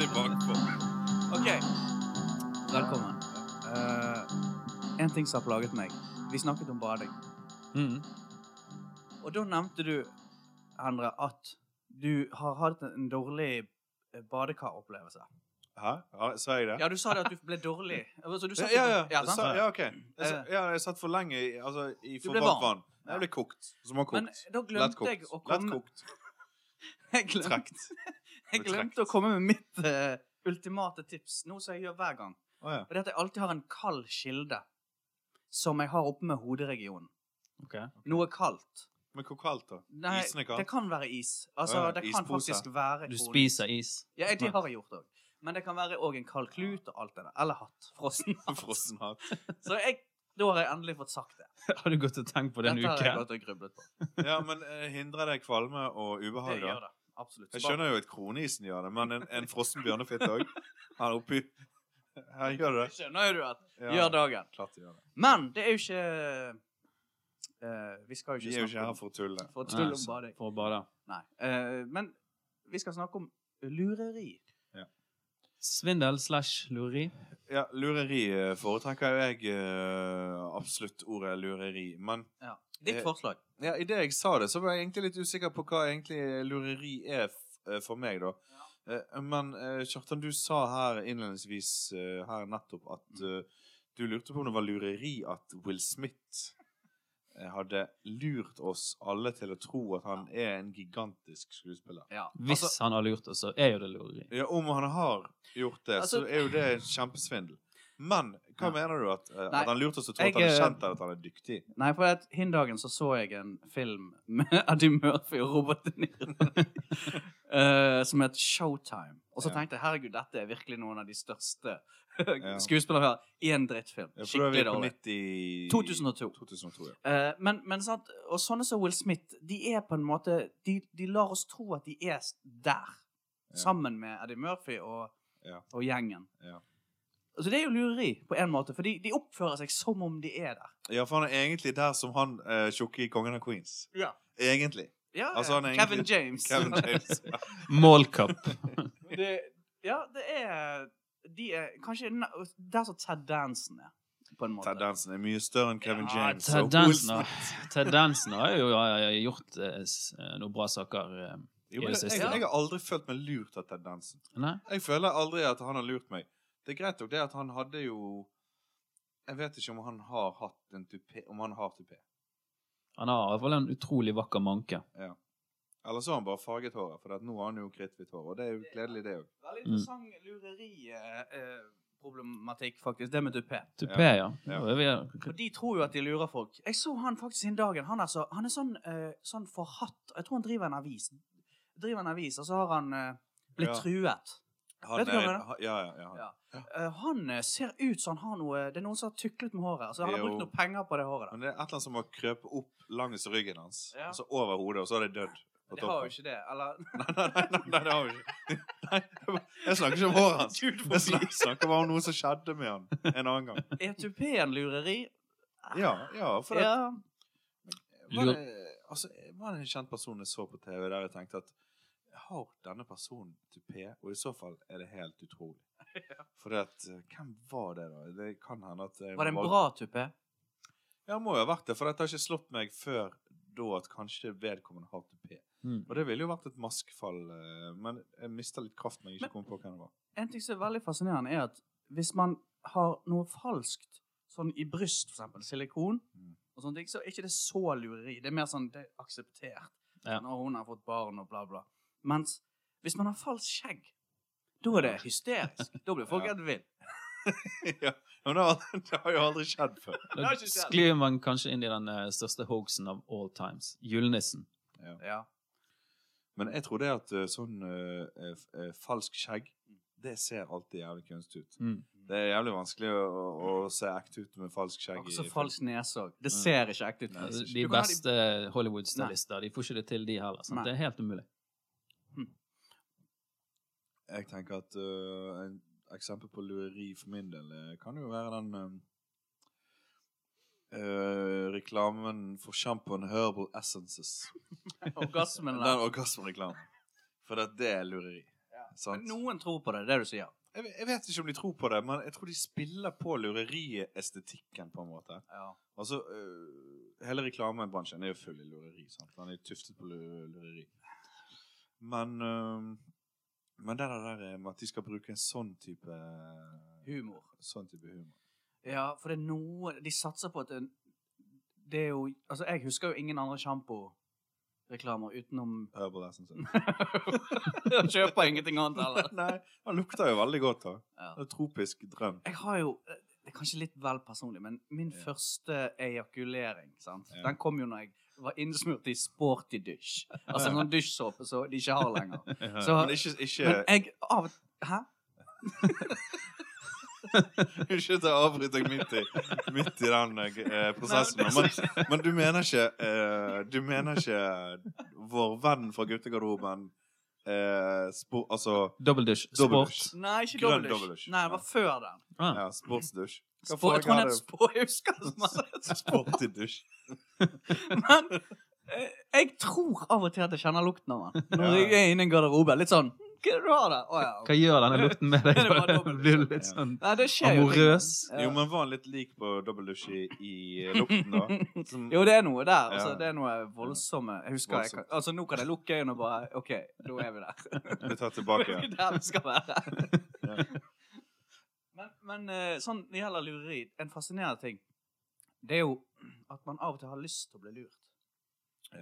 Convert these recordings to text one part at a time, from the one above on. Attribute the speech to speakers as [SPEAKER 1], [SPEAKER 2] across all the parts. [SPEAKER 1] Eh, en ting som har plaget meg. Vi snakket om bading.
[SPEAKER 2] Mm.
[SPEAKER 1] Og da nevnte du, Endre, at du har hatt en dårlig eh, badekaropplevelse.
[SPEAKER 3] Hæ? Ja, sa jeg det?
[SPEAKER 1] Ja, du sa det at du ble dårlig. Altså, du
[SPEAKER 3] Ja,
[SPEAKER 1] satt-
[SPEAKER 3] ja, ja.
[SPEAKER 1] ja,
[SPEAKER 3] Jeg sa,
[SPEAKER 1] sant? Eh,
[SPEAKER 3] ja altså, ok. Jeg, sa- ja, jeg satt for lenge i, altså, i
[SPEAKER 1] Du
[SPEAKER 3] for
[SPEAKER 1] ble
[SPEAKER 3] varmt
[SPEAKER 1] varm.
[SPEAKER 3] vann. Jeg ble kokt. Som har
[SPEAKER 1] Men
[SPEAKER 3] kokt.
[SPEAKER 1] da
[SPEAKER 3] Lett
[SPEAKER 1] glemte jeg
[SPEAKER 3] kokt.
[SPEAKER 1] å
[SPEAKER 3] Lett
[SPEAKER 1] komme
[SPEAKER 3] kokt.
[SPEAKER 1] Jeg glemte,
[SPEAKER 3] Trekt.
[SPEAKER 1] jeg glemte
[SPEAKER 3] Betrekt.
[SPEAKER 1] å komme med mitt eh, ultimate tips, noe som jeg gjør hver gang.
[SPEAKER 3] Å ja.
[SPEAKER 1] Og det er at jeg alltid har en kald kilde som jeg har oppe med hoderegionen.
[SPEAKER 2] Ok.
[SPEAKER 1] Noe kaldt.
[SPEAKER 3] Men hvor kaldt, da?
[SPEAKER 1] Nei,
[SPEAKER 3] Isen er
[SPEAKER 1] det
[SPEAKER 3] kald?
[SPEAKER 1] kan være is. Altså,
[SPEAKER 3] Å ja,
[SPEAKER 1] det kan
[SPEAKER 3] ispose.
[SPEAKER 1] faktisk være
[SPEAKER 2] Du
[SPEAKER 1] kone.
[SPEAKER 2] spiser is.
[SPEAKER 1] Ja, det har jeg gjort òg. Men det kan være òg en kald klut og alt det der. Eller hatt. Frossen hatt.
[SPEAKER 3] Frossen hatt.
[SPEAKER 1] Så jeg, da har jeg endelig fått sagt det.
[SPEAKER 2] Har du gått og tenkt på det en
[SPEAKER 1] Dette har
[SPEAKER 2] uke?
[SPEAKER 1] jeg gått og grublet på.
[SPEAKER 3] Ja, men eh, hindrer det kvalme og
[SPEAKER 1] Det
[SPEAKER 3] ubehag, da?
[SPEAKER 1] gjør det. Absolutt.
[SPEAKER 3] Jeg skjønner jo at kronisen gjør det, men en, en frossen bjørnefitt òg? Han er oppi Her gjør det.
[SPEAKER 1] Bare- skjønner jo du at
[SPEAKER 3] Ja,
[SPEAKER 1] gjør dagen.
[SPEAKER 3] Klart det gjør det.
[SPEAKER 1] Men det er jo ikke eh, Vi skal jo
[SPEAKER 3] Vi
[SPEAKER 1] ikke
[SPEAKER 3] er jo ikke
[SPEAKER 1] snakke
[SPEAKER 3] her
[SPEAKER 1] om
[SPEAKER 3] for å tulle.
[SPEAKER 1] for å tulle
[SPEAKER 2] Nei,
[SPEAKER 1] om
[SPEAKER 2] så-
[SPEAKER 1] bading.
[SPEAKER 2] For å bade.
[SPEAKER 1] Nei. eh, men vi skal snakke om lureri.
[SPEAKER 2] Svindel slash lureri.
[SPEAKER 3] Ja, lureri eh, foretrekker jo jeg eh, absolutt ordet lureri, men
[SPEAKER 1] Ja. Ditt
[SPEAKER 3] Eh,
[SPEAKER 1] forslag.
[SPEAKER 3] ja, idet jeg sa det, så var jeg egentlig litt usikker på hva egentlig lureri er f eh, for meg, da. Eh, Men eh, Kjartan, du sa her innledningsvis eh, her nettopp at eh, du lurte på om det var lureri at Will Smith eh, hadde lurt oss alle til å tro at han er en gigantisk skuespiller.
[SPEAKER 1] Ja.
[SPEAKER 2] Hvis
[SPEAKER 1] Altså,
[SPEAKER 2] han har lurt oss, så er jo det lureri.
[SPEAKER 3] Ja, om han har gjort det,
[SPEAKER 1] Altså-
[SPEAKER 3] så er jo det en kjempesvindel. Men hva
[SPEAKER 1] Ja.
[SPEAKER 3] mener du? At, eh,
[SPEAKER 1] Nei,
[SPEAKER 3] at han lurte oss til å tro at
[SPEAKER 1] jeg,
[SPEAKER 3] han er
[SPEAKER 1] eh,
[SPEAKER 3] kjent eller at han er dyktig?
[SPEAKER 1] nei, for at hindagen så så jeg en film med Eddie Murphy og Robert De Niro eh, som het Showtime. Og så
[SPEAKER 3] Ja.
[SPEAKER 1] tenkte jeg herregud, dette er virkelig noen av de største eh,
[SPEAKER 3] Ja.
[SPEAKER 1] skuespillere her i en drittfilm.
[SPEAKER 3] Ja, for da er vi
[SPEAKER 1] Skikkelig
[SPEAKER 3] på
[SPEAKER 1] dårlig.
[SPEAKER 3] 90...
[SPEAKER 1] 2002.
[SPEAKER 3] 2002, ja.
[SPEAKER 1] Eh, men, men sant, og sånne som Will Smith, de er på en måte De, de lar oss tro at de er s- der.
[SPEAKER 3] Ja.
[SPEAKER 1] Sammen med Eddie Murphy og,
[SPEAKER 3] Ja.
[SPEAKER 1] og gjengen.
[SPEAKER 3] Ja.
[SPEAKER 1] Så det er jo lureri, på en måte, for de, de oppfører seg som om de er der.
[SPEAKER 3] Ja, for han er egentlig der som han eh, tjukke i Kongen av Queens.
[SPEAKER 1] Ja.
[SPEAKER 3] Egentlig.
[SPEAKER 1] Ja,
[SPEAKER 3] Altså, han er
[SPEAKER 1] Kevin
[SPEAKER 3] egentlig-
[SPEAKER 1] James. Altså,
[SPEAKER 3] Kevin James.
[SPEAKER 2] Målkapp.
[SPEAKER 1] det, ja, det er De er kanskje na- der som altså Ted Dansen er, på en måte.
[SPEAKER 3] Ted Dansen er mye større enn Kevin
[SPEAKER 2] Ja,
[SPEAKER 3] James.
[SPEAKER 2] Ted
[SPEAKER 3] og Will
[SPEAKER 2] Dansen har-
[SPEAKER 3] Smith.
[SPEAKER 2] Ted Dansen har jo eh, gjort eh, s- eh, noen bra saker. eh.
[SPEAKER 3] Jo, men
[SPEAKER 2] i det
[SPEAKER 3] det, jeg,
[SPEAKER 2] siste.
[SPEAKER 3] jeg har aldri følt meg lurt av Ted Dansen.
[SPEAKER 2] Nei?
[SPEAKER 3] Jeg føler aldri at han har lurt meg. Det er greit nok det at han hadde jo Jeg vet ikke om han har hatt en tupé. Om han har tupé.
[SPEAKER 2] Han har i hvert fall en utrolig vakker manke.
[SPEAKER 3] Eller så har han bare farget håret, for at nå har han jo kritthvitt hår. Og det er jo gledelig, det òg.
[SPEAKER 1] Veldig
[SPEAKER 2] Mm.
[SPEAKER 1] interessant lureriproblematikk, faktisk. Det med tupé.
[SPEAKER 2] Tupé, ja.
[SPEAKER 3] Ja.
[SPEAKER 2] Nå er vi-
[SPEAKER 1] For de tror jo at de lurer folk. Jeg så han faktisk den dagen. Han er, så, han er sånn, eh, sånn forhatt Jeg tror han driver en avis. Driver en avis, og så har han eh,
[SPEAKER 3] Ja.
[SPEAKER 1] blitt truet.
[SPEAKER 3] Han
[SPEAKER 1] Vet du hva
[SPEAKER 3] er-
[SPEAKER 1] jeg mener?
[SPEAKER 3] ha- Ja, ja, ja.
[SPEAKER 1] Ja. Eh, han eh, ser ut som han har noe Det er noen som har tuklet med håret. Altså, han har
[SPEAKER 3] Jo.
[SPEAKER 1] brukt noe penger på det håret.
[SPEAKER 3] Men det er et eller annet som har krøpet opp langs ryggen hans,
[SPEAKER 1] Ja.
[SPEAKER 3] og så over hodet, og så har det dødd. på
[SPEAKER 1] Da. Det har
[SPEAKER 3] toppen.
[SPEAKER 1] jo ikke det. Eller
[SPEAKER 3] Nei, nei, nei, nei, det har vi ikke. Nei, det var- jeg snakker ikke om håret hans.
[SPEAKER 1] Gud,
[SPEAKER 3] Jeg snak- snakker bare om noe som skjedde med han en annen gang.
[SPEAKER 1] Er tupéen lureri?
[SPEAKER 3] Ja, ja, for det,
[SPEAKER 1] Ja.
[SPEAKER 3] var, det, altså, var det en kjent person jeg så på TV der jeg tenkte at har denne personen tupé? Og i så fall er det helt utrolig. For det at, eh, hvem var det da? Det kan hende at jeg
[SPEAKER 1] Var det en
[SPEAKER 3] må-
[SPEAKER 1] bra tupé?
[SPEAKER 3] Ja, det må jo ha vært det, for det har ikke slått meg før da at kanskje vedkommende har tupé.
[SPEAKER 2] Mm.
[SPEAKER 3] Og det ville jo vært et maskefall, eh, men jeg mista litt kraft når jeg ikke kom på hvem det var.
[SPEAKER 1] En ting som er veldig fascinerende, er at hvis man har noe falskt, sånn i bryst, for eksempel, silikon
[SPEAKER 3] Mm.
[SPEAKER 1] og sånne ting, så er ikke det så lureri. Det er mer sånn det er akseptert.
[SPEAKER 2] Ja.
[SPEAKER 1] Når hun har fått barn og bla, bla. Mens hvis man har falskt skjegg, da er det hysterisk. da blir folk
[SPEAKER 3] Ja.
[SPEAKER 1] helt ville.
[SPEAKER 3] ja, men det har, det har jo aldri skjedd før.
[SPEAKER 1] Det har
[SPEAKER 2] Da
[SPEAKER 1] ikke skjedd.
[SPEAKER 2] sklir man kanskje inn i den eh, største hoaxen av all times. Julenissen.
[SPEAKER 1] Ja.
[SPEAKER 3] Men jeg tror det at eh, sånn eh, eh, f- eh, falsk skjegg, det ser alltid jævlig kunstig ut.
[SPEAKER 2] Mm.
[SPEAKER 3] Det er jævlig vanskelig å, å, å se ekte ut med falsk skjegg.
[SPEAKER 1] Også
[SPEAKER 3] i-
[SPEAKER 1] falsk nese òg. Det
[SPEAKER 3] Mm.
[SPEAKER 1] ser ikke ekte ut.
[SPEAKER 3] Nei,
[SPEAKER 2] Altså,
[SPEAKER 3] det
[SPEAKER 2] de
[SPEAKER 1] Du kan ha de-
[SPEAKER 2] beste Hollywood-stylister de får ikke det til, de heller. Sant?
[SPEAKER 1] Nei.
[SPEAKER 2] Det er helt umulig.
[SPEAKER 3] Jeg tenker at eh, en eksempel på lureri for min del eh, kan jo være den eh, eh, reklamen for shampooen Herbal Essences.
[SPEAKER 1] Orgasmen
[SPEAKER 3] Den
[SPEAKER 1] der.
[SPEAKER 3] orgasmereklamen. For det, det er lureri. Sant?
[SPEAKER 1] Men noen tror på det, det er det du sier.
[SPEAKER 3] Jeg, ve- jeg vet ikke om de tror på det, men jeg tror de spiller på lureriestetikken på en måte.
[SPEAKER 1] Ja.
[SPEAKER 3] Altså, øh, hele reklamebransjen er jo full i lureri. sant? Den er tuftet på lu- lureri. Men, øh, men det der, der med at de skal bruke en sånn type
[SPEAKER 1] Humor.
[SPEAKER 3] Sånn type humor.
[SPEAKER 1] Ja, for det er noe De satser på at det, det er jo Altså, jeg husker jo ingen andre sjamporeklamer utenom
[SPEAKER 3] Herbal essence.
[SPEAKER 1] Jeg kjøper ingenting annet heller.
[SPEAKER 3] Nei, han lukter jo veldig godt, da.
[SPEAKER 1] Ja.
[SPEAKER 3] Det er tropisk drøm.
[SPEAKER 1] Jeg har jo eh, Det er kanskje litt vel personlig, men min
[SPEAKER 3] Ja.
[SPEAKER 1] første ejakulering sant?
[SPEAKER 3] Ja.
[SPEAKER 1] Den kom jo når jeg var innsmurt i sporty dusj. Altså en sånn dusjsåpe som de ikke har lenger. Så,
[SPEAKER 3] Men ikke, ikke,
[SPEAKER 1] men jeg av Hæ?
[SPEAKER 3] ikke til å avbryte deg midt i, midt i den eh, prosessen.
[SPEAKER 1] Nei,
[SPEAKER 3] men, men du mener ikke eh, Du mener ikke vår venn fra guttegarderoben eh, spo, Altså
[SPEAKER 2] Dobbeldusj. Sport.
[SPEAKER 3] dobbeldusj.
[SPEAKER 1] Nei, ikke
[SPEAKER 3] Grønn
[SPEAKER 1] dobbeltdusj.
[SPEAKER 3] dobbeldusj.
[SPEAKER 1] Nei, det var før den.
[SPEAKER 2] Ah.
[SPEAKER 3] Ja, sportsdusj. Hva
[SPEAKER 1] Spor, jeg
[SPEAKER 3] faen
[SPEAKER 1] tror han
[SPEAKER 3] er
[SPEAKER 1] het
[SPEAKER 3] det?
[SPEAKER 1] Spor, jeg husker det som han het.
[SPEAKER 3] Sporty dusj.
[SPEAKER 1] Men eh, jeg tror av og til at jeg kjenner lukten av den. Når
[SPEAKER 3] Ja.
[SPEAKER 1] jeg er inne i en garderobe. Litt sånn Hva er det du har der? Å ja.
[SPEAKER 2] Hva gjør denne lukten med deg?
[SPEAKER 1] Det er bare dobbelt,
[SPEAKER 2] Blir du
[SPEAKER 1] liksom.
[SPEAKER 2] litt sånn
[SPEAKER 1] Nei, det skjer jo. ting.
[SPEAKER 2] amorøs?
[SPEAKER 1] Ja.
[SPEAKER 3] Jo, men var han litt lik på dobbeldusj i, i lukten, da? Som,
[SPEAKER 1] Jo, det er noe der. Altså,
[SPEAKER 3] Ja.
[SPEAKER 1] Det er noe voldsomme Jeg husker jeg, kan- altså, Nå kan jeg lukke øynene og bare OK, nå er vi der.
[SPEAKER 3] vi tar
[SPEAKER 1] Nå
[SPEAKER 3] tilbake.
[SPEAKER 1] er vi der vi skal være.
[SPEAKER 3] Ja.
[SPEAKER 1] Men, men eh, sånn det gjelder lureri, en fascinerende ting, det er jo at man av og til har lyst til å bli lurt.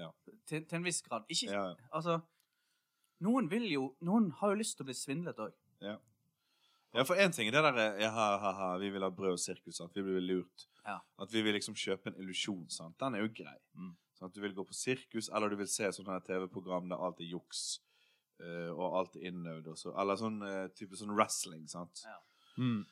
[SPEAKER 3] Ja.
[SPEAKER 1] Til, til en viss grad. Ikke,
[SPEAKER 3] Ja.
[SPEAKER 1] Altså, noen vil jo Noen har jo lyst til å bli svindlet òg.
[SPEAKER 3] Ja, for én ting er det derre ja, ha, ha, ha, vi vil ha brød og sirkus, sant? vi blir lurt.
[SPEAKER 1] Ja.
[SPEAKER 3] At vi vil liksom kjøpe en illusjon. sant? Den er jo grei.
[SPEAKER 1] Mm.
[SPEAKER 3] Sånn at du vil gå på sirkus, eller du vil se sånne her TV-program der alt er juks. eh, og alt er innøvd. og så- Eller sånn eh, type sånn wrestling. sant?
[SPEAKER 1] Ja.
[SPEAKER 2] Mm.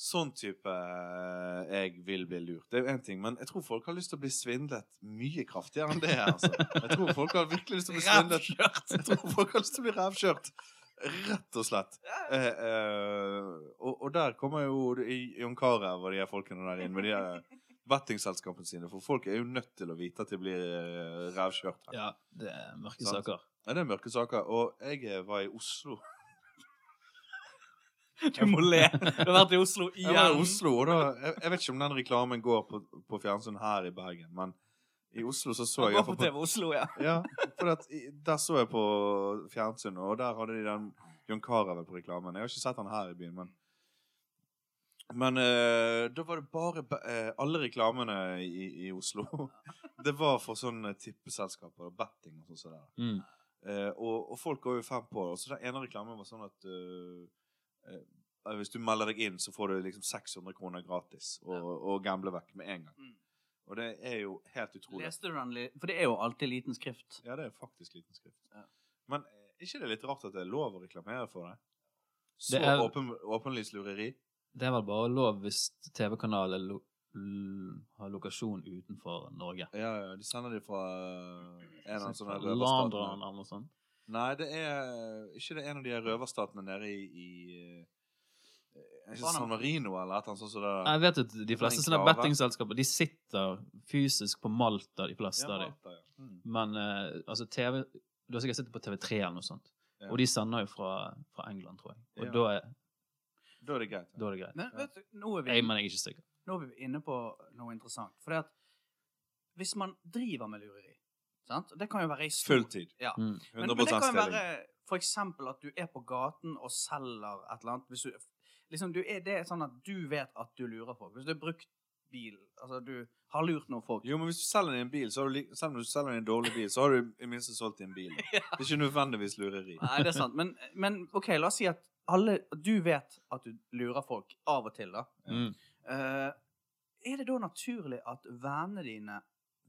[SPEAKER 3] Sånn type eh, jeg vil bli lurt. Det er jo én ting, men jeg tror folk har lyst til å bli svindlet mye kraftigere enn det. altså. Jeg tror folk har virkelig lyst til å bli svindlet. Jeg tror folk har lyst til å bli revkjørt. Rett og slett. Eh, eh, og, og der kommer jo det- i- Jon Carew og de her folkene der inn med de her bettingselskapene sine. For folk er jo nødt til å vite at de blir eh, rævkjørt. her.
[SPEAKER 2] Ja, det er mørke
[SPEAKER 3] Sant.
[SPEAKER 2] saker.
[SPEAKER 3] Ja, det er mørke saker. Og jeg eh, var i Oslo.
[SPEAKER 1] Du må le. Du har vært i Oslo
[SPEAKER 3] Jeg
[SPEAKER 1] igjen.
[SPEAKER 3] var i Oslo, og da jeg, jeg vet ikke om den reklamen går på, på fjernsyn her i Bergen, men i Oslo så så jeg
[SPEAKER 1] Jeg var
[SPEAKER 3] iallfall
[SPEAKER 1] på
[SPEAKER 3] på
[SPEAKER 1] TV Oslo, ja.
[SPEAKER 3] Ja, for at, i- der så jeg på fjernsynet, og der hadde de den Jon Carew på reklamen. Jeg har ikke sett han her i byen, men Men eh, da var det bare ba- eh, Alle reklamene i, i Oslo Det var for sånne tippeselskaper og betting og sånn. der.
[SPEAKER 2] Mm.
[SPEAKER 3] Eh, og, og folk går jo fem på det. Og så den ene reklamen var sånn at eh, eh, hvis du melder deg inn, så får du liksom 600 kroner gratis og, og gambler vekk med en gang.
[SPEAKER 1] Mm.
[SPEAKER 3] Og det er jo helt utrolig.
[SPEAKER 1] Leste du den? li- For det er jo alltid liten skrift.
[SPEAKER 3] Ja, det er faktisk liten skrift.
[SPEAKER 1] Ja.
[SPEAKER 3] Men er ikke det er litt rart at det er lov å reklamere for det? Så
[SPEAKER 2] Det er-
[SPEAKER 3] åpen, åpenlyst lureri.
[SPEAKER 2] Det er vel bare lov hvis TV-kanalen lo l har lokasjon utenfor Norge.
[SPEAKER 3] Ja, ja, de sender de fra en av sånne her
[SPEAKER 2] London
[SPEAKER 3] røverstatene.
[SPEAKER 2] eller noe sånt.
[SPEAKER 3] Nei, det er eh, ikke det en av de her røverstatene nede i, i eh, er ikke
[SPEAKER 1] Panama.
[SPEAKER 3] San Marino eller et eller annet sånt som det der.
[SPEAKER 2] Jeg vet at de fleste sånne
[SPEAKER 3] Enklave.
[SPEAKER 2] bettingselskaper de sitter fysisk på Malta, de fleste
[SPEAKER 3] Ja,
[SPEAKER 2] av de.
[SPEAKER 3] Malta, ja. Mm.
[SPEAKER 2] Men eh, altså TV Du har sikkert sittet på TV3 eller noe sånt.
[SPEAKER 3] Ja.
[SPEAKER 2] Og de sender jo fra, fra England, tror jeg. Og
[SPEAKER 3] Ja.
[SPEAKER 2] da, er,
[SPEAKER 3] Da er det greit.
[SPEAKER 2] da er det greit.
[SPEAKER 1] Men vet du, nå er vi
[SPEAKER 2] Jeg, men jeg er ikke sikker.
[SPEAKER 1] nå er vi inne på noe interessant. For det at hvis man driver med lureri sant? Det kan jo være i stor-
[SPEAKER 3] Fulltid.
[SPEAKER 1] Ja.
[SPEAKER 2] Mm.
[SPEAKER 1] Men,
[SPEAKER 3] 100
[SPEAKER 1] men det kan jo
[SPEAKER 3] stilling.
[SPEAKER 1] være for eksempel at du er på gaten og selger et eller annet. Hvis du, liksom, du er, det er sånn at du vet at du lurer folk. Hvis du har brukt bil, altså du har lurt noen folk.
[SPEAKER 3] Jo, men hvis du selger din bil, så har du, li- selv om du selger din dårlig bil, så har du i minste solgt din bil. Det er ikke nødvendigvis lureri.
[SPEAKER 1] Nei, det er sant. Men, men OK, la oss si at alle Du vet at du lurer folk av og til, da.
[SPEAKER 2] Mm.
[SPEAKER 1] Eh, er det da naturlig at vennene dine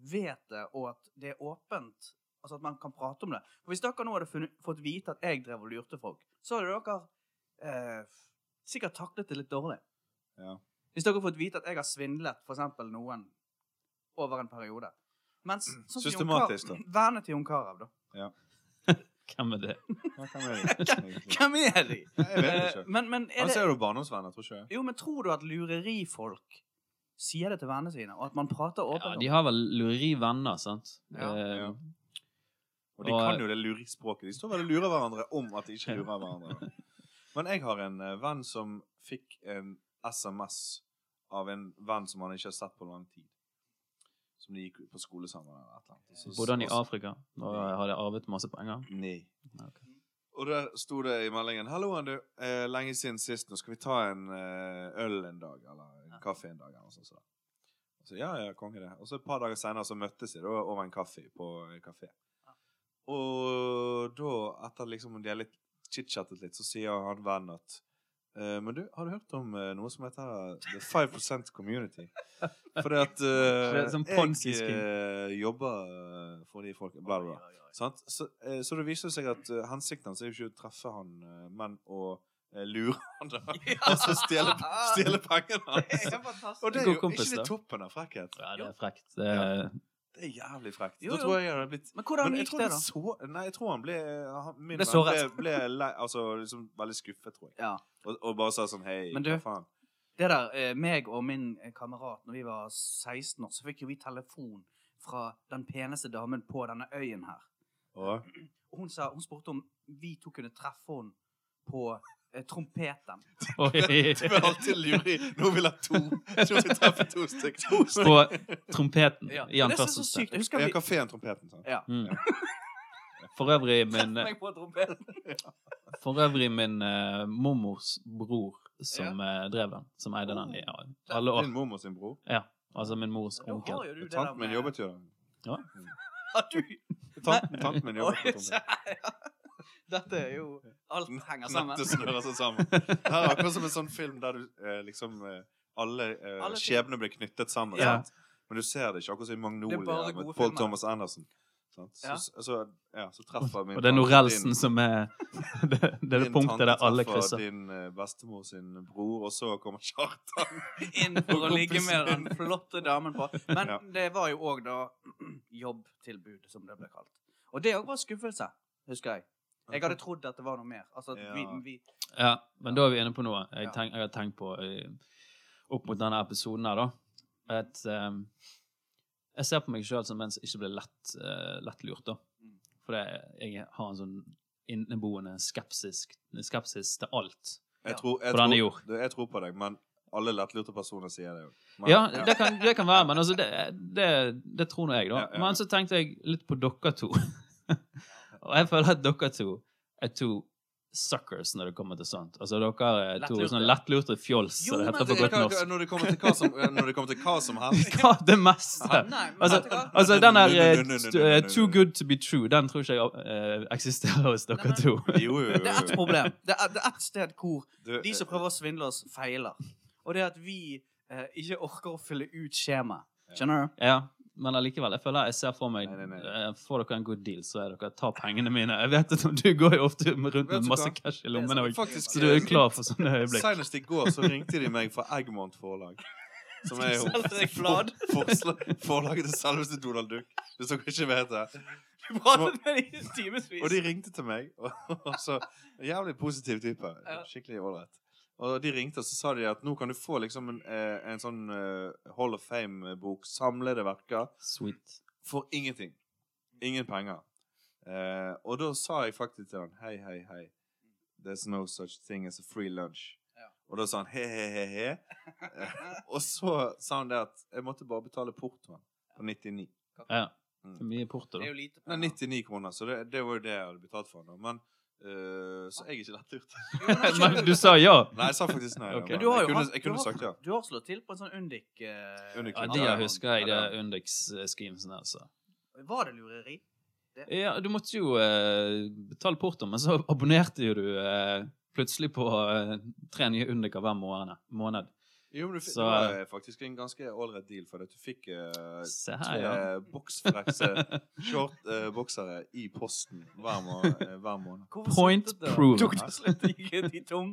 [SPEAKER 1] vet det, og at det er åpent? Altså at man kan prate om det? For Hvis dere nå hadde funnet, fått vite at jeg drev og lurte folk, så hadde dere eh, sikkert taklet det litt dårlig.
[SPEAKER 3] Ja.
[SPEAKER 1] Hvis dere hadde fått vite at jeg har svindlet for eksempel noen over en periode. Mens, sånn som Jon Carew-
[SPEAKER 3] Systematisk, da.
[SPEAKER 1] Vennene til Jon Carew, da.
[SPEAKER 2] Hvem er det?
[SPEAKER 3] Hva kan være det, egentlig?
[SPEAKER 1] Hvem er de?
[SPEAKER 3] Jeg vet
[SPEAKER 1] Eh,
[SPEAKER 3] ikke.
[SPEAKER 1] Men, men er
[SPEAKER 3] Han
[SPEAKER 1] det
[SPEAKER 3] ser jo barndomsvenner, tror ikke jeg.
[SPEAKER 1] Jo, men tror du at lurerifolk sier det til vennene sine, og at man prater
[SPEAKER 2] Ja,
[SPEAKER 1] åpent om
[SPEAKER 2] de har vel lurerivenner, sant?
[SPEAKER 1] Ja.
[SPEAKER 2] Eh,
[SPEAKER 3] Ja. Og de
[SPEAKER 2] Og-
[SPEAKER 3] kan jo det lurispråket. De står vel og lurer hverandre om at de ikke lurer hverandre. Men jeg har en eh, venn som fikk en SMS av en venn som han ikke har sett på lang tid. Som de gikk på skole sammen eller et eller annet. Og så-
[SPEAKER 2] Bodde han i
[SPEAKER 3] og så-
[SPEAKER 2] Afrika og hadde arvet masse penger?
[SPEAKER 3] Nei.
[SPEAKER 2] Ok.
[SPEAKER 3] Og der sto det i meldingen 'Hallo, Andu. Eh, lenge siden sist. Nå skal vi ta en eh, øl en dag.' Eller en
[SPEAKER 1] Ja.
[SPEAKER 3] kaffe en dag. Eller noe sånt. som det. Og så, ja, ja, konge det. Og så et par dager senere så møttes de da over en kaffe på en kafé. Og da, etter liksom de har litt chit-chattet litt, så sier han vennen at eh, men du, har du hørt om eh, noe som heter The 5 Community? Fordi at
[SPEAKER 2] Det er sånn
[SPEAKER 3] eh, jeg
[SPEAKER 2] Ponzi-scheme.
[SPEAKER 3] eh, jobber eh, for de folkene Bla, bla, bla. Sant? Så, eh, så det viser seg at eh, hensikten hans er jo ikke å treffe han, eh, men å eh, lure han da. Altså stjele, stjele pengene
[SPEAKER 1] Det
[SPEAKER 3] hans.
[SPEAKER 1] er fantastisk.
[SPEAKER 3] Og det er
[SPEAKER 2] God
[SPEAKER 3] jo
[SPEAKER 2] kompis,
[SPEAKER 3] ikke det
[SPEAKER 2] da.
[SPEAKER 3] toppen av frekkhet.
[SPEAKER 2] Ja, det er frekt. Det er,
[SPEAKER 3] Det er jævlig frekt.
[SPEAKER 1] Jo,
[SPEAKER 3] Da
[SPEAKER 1] jo.
[SPEAKER 3] tror jeg jeg hadde blitt
[SPEAKER 1] Men hvordan
[SPEAKER 3] Men jeg
[SPEAKER 1] gikk
[SPEAKER 3] tror,
[SPEAKER 1] det,
[SPEAKER 3] det
[SPEAKER 1] da?
[SPEAKER 3] så, nei, jeg tror han ble eh, han, Min
[SPEAKER 1] Ble
[SPEAKER 3] venn ble,
[SPEAKER 1] såret.
[SPEAKER 3] ble lei, altså, liksom, veldig skuffet, tror jeg.
[SPEAKER 1] Ja.
[SPEAKER 3] Og, og bare sa sånn Hei,
[SPEAKER 1] Men du-
[SPEAKER 3] hva faen?
[SPEAKER 1] Det der, eh, meg og min eh, kamerat, når vi var 16 år, så fikk jo vi telefon fra den peneste damen på denne øyen her.
[SPEAKER 3] Og,
[SPEAKER 1] Og Hun, sa, hun spurte om vi to kunne treffe henne på eh, trompeten.
[SPEAKER 3] det blir alltid luri. Nå vil jeg to. Nå vil jeg treffe to stykker. To
[SPEAKER 2] På trompeten,
[SPEAKER 1] Ja,
[SPEAKER 2] i
[SPEAKER 1] det er så
[SPEAKER 2] anførselstegn.
[SPEAKER 1] sykt. Jeg husker vi...
[SPEAKER 3] Kafeen Trompeten. Sant?
[SPEAKER 2] Mm. For øvrig, min,
[SPEAKER 1] Treff meg på trompeten.
[SPEAKER 2] for øvrig min eh, mormors bror som eh, drev den, som eide den i ja,
[SPEAKER 1] Oh.
[SPEAKER 2] alle år.
[SPEAKER 3] Din mormor sin bror.
[SPEAKER 2] Ja, altså min mors
[SPEAKER 1] Nå har
[SPEAKER 2] onkel.
[SPEAKER 1] jo du det
[SPEAKER 3] Tanten min jobbet jo der.
[SPEAKER 1] Har du...
[SPEAKER 3] Tanten, tanten min jobber
[SPEAKER 1] Oi,
[SPEAKER 3] på
[SPEAKER 1] se her. Dette er jo Alt henger sammen.
[SPEAKER 3] Nettet snører seg sammen. Det er akkurat som en sånn film der du eh, liksom eh, Alle, eh,
[SPEAKER 1] Alle ting.
[SPEAKER 3] skjebner blir knyttet sammen.
[SPEAKER 2] Ja.
[SPEAKER 3] Sant? Men du ser det ikke, akkurat som i Magnolia
[SPEAKER 1] Det er bare
[SPEAKER 3] med
[SPEAKER 1] gode
[SPEAKER 3] Paul
[SPEAKER 1] filmer.
[SPEAKER 3] Thomas Anderson. Sant? Så,
[SPEAKER 1] Ja.
[SPEAKER 3] så, så, ja, så treffer min
[SPEAKER 2] Og det er
[SPEAKER 3] tante
[SPEAKER 2] Norelsen
[SPEAKER 3] din-
[SPEAKER 2] som er det, det er det
[SPEAKER 3] din
[SPEAKER 2] punktet der
[SPEAKER 3] tante
[SPEAKER 2] alle
[SPEAKER 3] treffer
[SPEAKER 2] krysser.
[SPEAKER 3] Din eh, bestemor sin bror, og så kommer Kjartan.
[SPEAKER 1] inn for å ligge med den flotte damen på. Men
[SPEAKER 3] Ja.
[SPEAKER 1] det var jo òg da jobbtilbud, som det ble kalt. Og det òg var skuffelse, husker jeg. Jeg hadde trodd at det var noe mer. Altså, at vi,
[SPEAKER 3] Ja.
[SPEAKER 1] vi,
[SPEAKER 2] Ja, men da er vi inne på noe jeg,
[SPEAKER 1] Ja.
[SPEAKER 2] tenk, jeg har tenkt på eh, opp mot denne episoden her, da. At eh, jeg ser på meg sjøl som en som ikke blir lett, eh, lett lurt, da.
[SPEAKER 1] Mm.
[SPEAKER 2] For det, jeg har en sånn inneboende skepsis, skepsis til alt.
[SPEAKER 3] Jeg tror, jeg,
[SPEAKER 2] Hvordan er
[SPEAKER 3] tror,
[SPEAKER 2] jord?
[SPEAKER 3] du, jeg tror på deg, men alle lettlurte personer sier det jo. Men-
[SPEAKER 2] Ja, det kan, det kan være, men altså, det, det, det tror nå jeg, da.
[SPEAKER 3] Ja, ja, ja.
[SPEAKER 2] Men så tenkte jeg litt på dere to. Og jeg føler at dere to er to suckers når det kommer til sånt. Altså, dere er to
[SPEAKER 1] Lettlurte.
[SPEAKER 2] sånne lettlurte fjols,
[SPEAKER 1] Jo,
[SPEAKER 2] som det
[SPEAKER 1] men
[SPEAKER 2] heter på
[SPEAKER 1] det-
[SPEAKER 2] godt
[SPEAKER 3] Hva-
[SPEAKER 2] norsk.
[SPEAKER 3] Når det kommer til hva som, når det kommer til hva som helst
[SPEAKER 2] Hva det meste?
[SPEAKER 1] nei, men
[SPEAKER 2] Altså-
[SPEAKER 1] vet du hva?
[SPEAKER 2] Altså, den her eh,
[SPEAKER 3] Nei, nei, nei,
[SPEAKER 2] st-
[SPEAKER 3] nei, nei,
[SPEAKER 2] eh,
[SPEAKER 3] nei,
[SPEAKER 2] Too
[SPEAKER 3] nei.
[SPEAKER 2] good to be true, den tror ikke jeg eh, eksisterer hos
[SPEAKER 1] Nei,
[SPEAKER 2] dere
[SPEAKER 1] men-
[SPEAKER 2] to.
[SPEAKER 3] Jo, jo, jo.
[SPEAKER 1] Det er ett problem. Det er, det er ett sted hvor
[SPEAKER 3] Du-
[SPEAKER 1] de som prøver å svindle oss, feiler. Og det er at vi eh, ikke orker å fylle ut skjemaet. Skjønner du?
[SPEAKER 2] Ja, men allikevel, jeg føler jeg ser for meg
[SPEAKER 3] Nei, nei, nei.
[SPEAKER 2] eh, Får dere en god deal, så er dere tar pengene mine. Jeg vet at du går jo ofte med- rundt
[SPEAKER 3] Vet
[SPEAKER 2] med
[SPEAKER 3] du
[SPEAKER 2] masse
[SPEAKER 3] hva?
[SPEAKER 2] cash i
[SPEAKER 1] sånn
[SPEAKER 2] lommene òg,
[SPEAKER 3] Faktisk,
[SPEAKER 2] så du er
[SPEAKER 3] eh,
[SPEAKER 2] klar for sånne øyeblikk.
[SPEAKER 3] Senest i går så ringte de meg fra Eggmont forlag. Som er jo
[SPEAKER 1] Selger deg blad.
[SPEAKER 3] forsla- forlaget til selveste Donald Duck. Hvis dere ikke vet det.
[SPEAKER 1] Du pratet med dem i timevis.
[SPEAKER 3] Og de ringte til meg. Og, og så en Jævlig positiv type.
[SPEAKER 1] Ja.
[SPEAKER 3] Skikkelig ålreit. Og de ringte, og så sa de at nå kan du få liksom en, eh, en sånn eh, Hall of Fame-bok, samlede verker,
[SPEAKER 2] Sweet.
[SPEAKER 3] for ingenting. Ingen penger. Eh, og da sa jeg faktisk til han Hei, hei, hei. There's no such thing as a free lunch.
[SPEAKER 1] Ja.
[SPEAKER 3] Og da sa han he, he, he, he. Eh, Og så sa han det at jeg måtte bare betale portoen på 99.
[SPEAKER 2] Ja.
[SPEAKER 3] Mm.
[SPEAKER 2] Det er mye porto,
[SPEAKER 1] Det
[SPEAKER 2] da.
[SPEAKER 1] er jo lite
[SPEAKER 3] Nei,
[SPEAKER 1] penger.
[SPEAKER 3] 99 kroner, så det, det var jo det jeg hadde betalt for. Da. Men øh, Så jeg er ikke lettlurt.
[SPEAKER 1] Jo, men da skjønner
[SPEAKER 2] Men du sa ja!
[SPEAKER 3] Nei, jeg sa faktisk nei. da,
[SPEAKER 2] Ok.
[SPEAKER 3] men
[SPEAKER 1] Men du har
[SPEAKER 3] jeg
[SPEAKER 1] jo
[SPEAKER 3] kunne,
[SPEAKER 1] hatt-
[SPEAKER 3] jeg
[SPEAKER 1] du
[SPEAKER 3] kunne
[SPEAKER 1] har-
[SPEAKER 3] sagt ja.
[SPEAKER 1] Du har slått til på en sånn Undik... eh,
[SPEAKER 3] Undik-
[SPEAKER 2] Ja,
[SPEAKER 1] annen
[SPEAKER 2] det
[SPEAKER 3] Ja,
[SPEAKER 1] hånd.
[SPEAKER 2] husker jeg,
[SPEAKER 3] ja,
[SPEAKER 2] det
[SPEAKER 3] det
[SPEAKER 2] Undix-schemesen, altså.
[SPEAKER 1] Var det lureri?
[SPEAKER 2] Ja, du måtte jo eh, betale porto, men så abonnerte jo du eh, plutselig på eh, tre nye Undiker hver måned. måned.
[SPEAKER 3] Jo, men du fikk,
[SPEAKER 2] Så-
[SPEAKER 3] det var eh, faktisk en ganske ålreit deal, for at du fikk øh,
[SPEAKER 2] Se
[SPEAKER 3] tre
[SPEAKER 2] her, ja.
[SPEAKER 3] boksflekse short-boksere eh, i posten hver, må, eh, hver måned.
[SPEAKER 1] Hvorfor
[SPEAKER 2] Point
[SPEAKER 1] sluttet det?
[SPEAKER 2] proven.
[SPEAKER 1] Tok det slutt? Gikk de tom?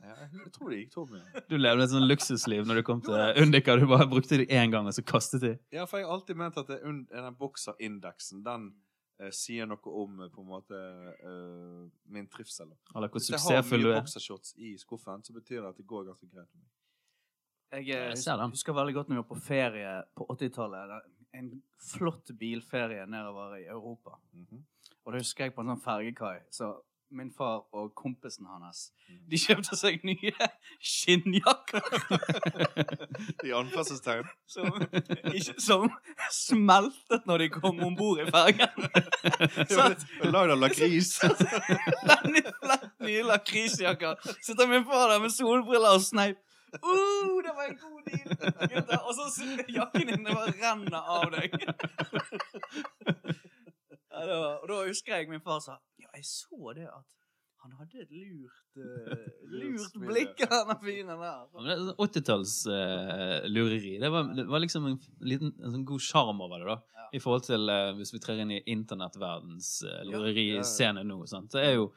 [SPEAKER 3] Ja, jeg tror det gikk tom. Ja.
[SPEAKER 2] Du levde et sånn luksusliv når du kom til Undiker. Du bare brukte de én gang, og så kastet de.
[SPEAKER 3] ja, for jeg har alltid ment at det, er un- den bokserindeksen, den eh, sier noe om eh, på en måte eh, min trivsel. da.
[SPEAKER 2] Eller hvor
[SPEAKER 3] Hvis jeg har
[SPEAKER 2] suksessfull du
[SPEAKER 3] mye
[SPEAKER 2] er.
[SPEAKER 3] boksershorts i skuffen, så betyr det at det går ganske greit. med meg.
[SPEAKER 1] Jeg eh,
[SPEAKER 2] Jeg ser den.
[SPEAKER 1] husker veldig godt når vi var på ferie på 80-tallet. Det- En flott bilferie nedover i Europa.
[SPEAKER 3] Mhm.
[SPEAKER 1] Og da husker jeg på en sånn fergekai, så min far og kompisen hans
[SPEAKER 3] Mm.
[SPEAKER 1] De kjøpte seg nye skinnjakker
[SPEAKER 3] I anførselstegn.
[SPEAKER 1] som, ikke, som smeltet når de kom om bord i fergen. Så at
[SPEAKER 3] Lagd av lakris.
[SPEAKER 1] den flett nye lakrisjakker sitter min far der med solbriller og sneip. Uh, det var en god deal! gutter. Og så s- jakken din det bare renner av deg. Ja, det var, og da husker jeg min far sa Ja, jeg så det at han hadde et lurt eh, Lurt blikk, han fyren der.
[SPEAKER 2] Ja, men det er sånn 80-tallslureri. det, var- det var liksom en liten en sånn god sjarm over det, da.
[SPEAKER 1] Ja.
[SPEAKER 2] I forhold til eh, hvis vi trer inn i internettverdens uh,
[SPEAKER 1] Ja.
[SPEAKER 2] lureriscene nå. Sant? Det er jo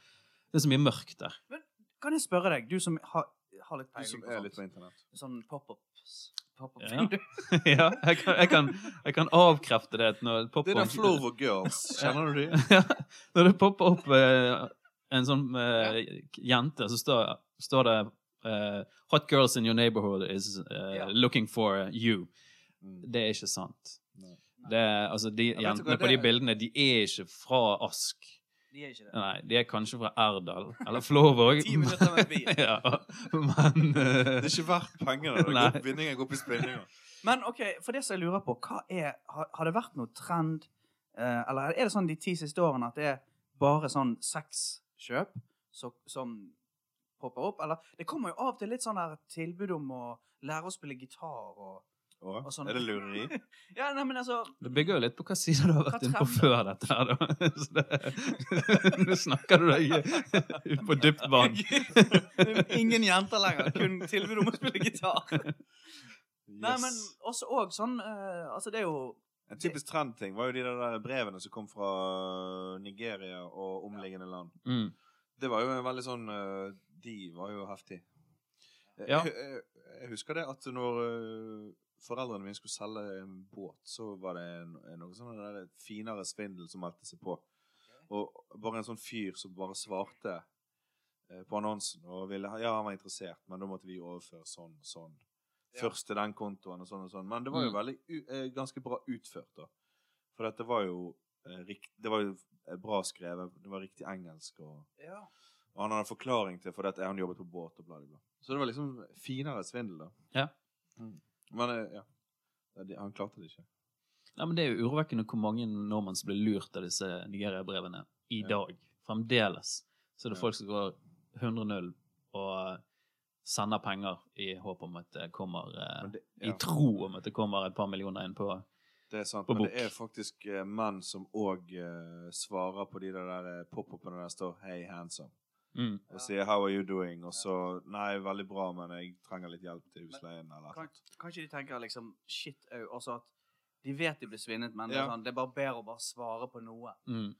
[SPEAKER 2] det er så mye mørkt der.
[SPEAKER 1] Kan jeg spørre deg, du som har, har litt
[SPEAKER 3] Du som
[SPEAKER 1] peiling på
[SPEAKER 3] er
[SPEAKER 1] sånt,
[SPEAKER 3] litt på internett.
[SPEAKER 1] sånn pop-ups pop
[SPEAKER 2] Ja. ja, jeg kan, jeg, kan, jeg kan avkrefte det at når det
[SPEAKER 3] Det
[SPEAKER 2] popper
[SPEAKER 3] er der Flow of Girls. Kjenner du det?
[SPEAKER 2] Ja, når det popper opp eh, en sånn eh, jente, så står, står det eh, Hot girls in your neighborhood is eh,
[SPEAKER 1] Ja.
[SPEAKER 2] looking for you.
[SPEAKER 3] Mm.
[SPEAKER 2] Det er ikke sant.
[SPEAKER 3] Nei.
[SPEAKER 2] Det, er- altså, de
[SPEAKER 3] vet du
[SPEAKER 2] jentene
[SPEAKER 3] hva,
[SPEAKER 2] på de
[SPEAKER 3] det-
[SPEAKER 2] bildene, de er ikke fra Ask.
[SPEAKER 1] De er ikke det.
[SPEAKER 2] Nei, de er kanskje fra Erdal eller Flåvåg.
[SPEAKER 1] Ti minutter med bil.
[SPEAKER 2] ja, men eh,
[SPEAKER 3] Det er ikke verdt pengene. Det
[SPEAKER 2] Nei.
[SPEAKER 3] går, vinningen går opp i spinninga.
[SPEAKER 1] Men ok, for det som jeg lurer på, hva er, har, har det vært noe trend, eh, eller er det sånn de ti siste årene at det er bare sånn sexkjøp så- som popper opp, eller det kommer jo av og til litt sånn der tilbud om å lære å spille gitar og...
[SPEAKER 3] Å,
[SPEAKER 1] Og sånn.
[SPEAKER 3] Er det lureri?
[SPEAKER 1] Ja, nei, men altså,
[SPEAKER 2] Det bygger jo litt på hva side du har
[SPEAKER 1] Hva
[SPEAKER 2] vært inne på
[SPEAKER 1] trender?
[SPEAKER 2] før dette her, da. Så det, nå snakker du deg ut på dypt vann.
[SPEAKER 1] ingen jenter lenger, kun tilbud om å spille gitar. Nei, men
[SPEAKER 3] Yes.
[SPEAKER 1] også og sånn, eh, altså det er jo...
[SPEAKER 3] En typisk trendting var jo de der brevene som kom fra Nigeria og omliggende land.
[SPEAKER 2] Mm.
[SPEAKER 3] Det var jo en veldig sånn eh, De var jo heftige. Jeg,
[SPEAKER 2] Ja.
[SPEAKER 3] jeg, eh, jeg husker det at når eh, foreldrene mine skulle selge en båt, så var det en, en- noe sånn der finere svindel som meldte seg på. Og bare en sånn fyr som bare svarte eh, på annonsen og ville ha- Ja, han var interessert, men da måtte vi overføre sånn og sånn.
[SPEAKER 1] Ja.
[SPEAKER 3] Først til den kontoen og sånn og sånn. Men det var jo
[SPEAKER 2] Mm.
[SPEAKER 3] veldig u- eh, ganske bra utført, da. For dette var jo eh, rikt, Det var jo eh, bra skrevet. Det var riktig engelsk og
[SPEAKER 1] Ja.
[SPEAKER 3] og han hadde en forklaring til for dette, han jobbet på båt og bla, bla, bla. Så det var liksom finere svindel, da.
[SPEAKER 2] Ja.
[SPEAKER 3] Mm. Men eh, ja. Ja, de- Han klarte det ikke.
[SPEAKER 2] Nei, men Det er jo urovekkende hvor mange nordmenn som blir lurt av disse Nigeria-brevene i
[SPEAKER 3] Ja.
[SPEAKER 2] dag. Fremdeles. Så det er
[SPEAKER 3] Ja.
[SPEAKER 2] folk som går 100-0 og sender penger i håp om at det kommer eh,
[SPEAKER 3] Men det,
[SPEAKER 2] I
[SPEAKER 3] ja,
[SPEAKER 2] tro om at det kommer et par millioner inn på
[SPEAKER 3] det er sant.
[SPEAKER 2] på
[SPEAKER 3] Men
[SPEAKER 2] bok.
[SPEAKER 3] det er faktisk eh, menn som òg eh, svarer på de der eh, pop-upene der det står 'Hey, handsome'.
[SPEAKER 2] mm.
[SPEAKER 3] Og sier 'How are you doing?' Og så 'Nei, veldig bra, men jeg trenger litt hjelp til husleien', eller
[SPEAKER 1] Kan,
[SPEAKER 3] noe.
[SPEAKER 1] kanskje de tenker liksom shit au, også at de vet de blir svinnet, men det,
[SPEAKER 3] Ja.
[SPEAKER 1] er sånn, det er bare bedre å bare svare på noe.
[SPEAKER 2] Mm.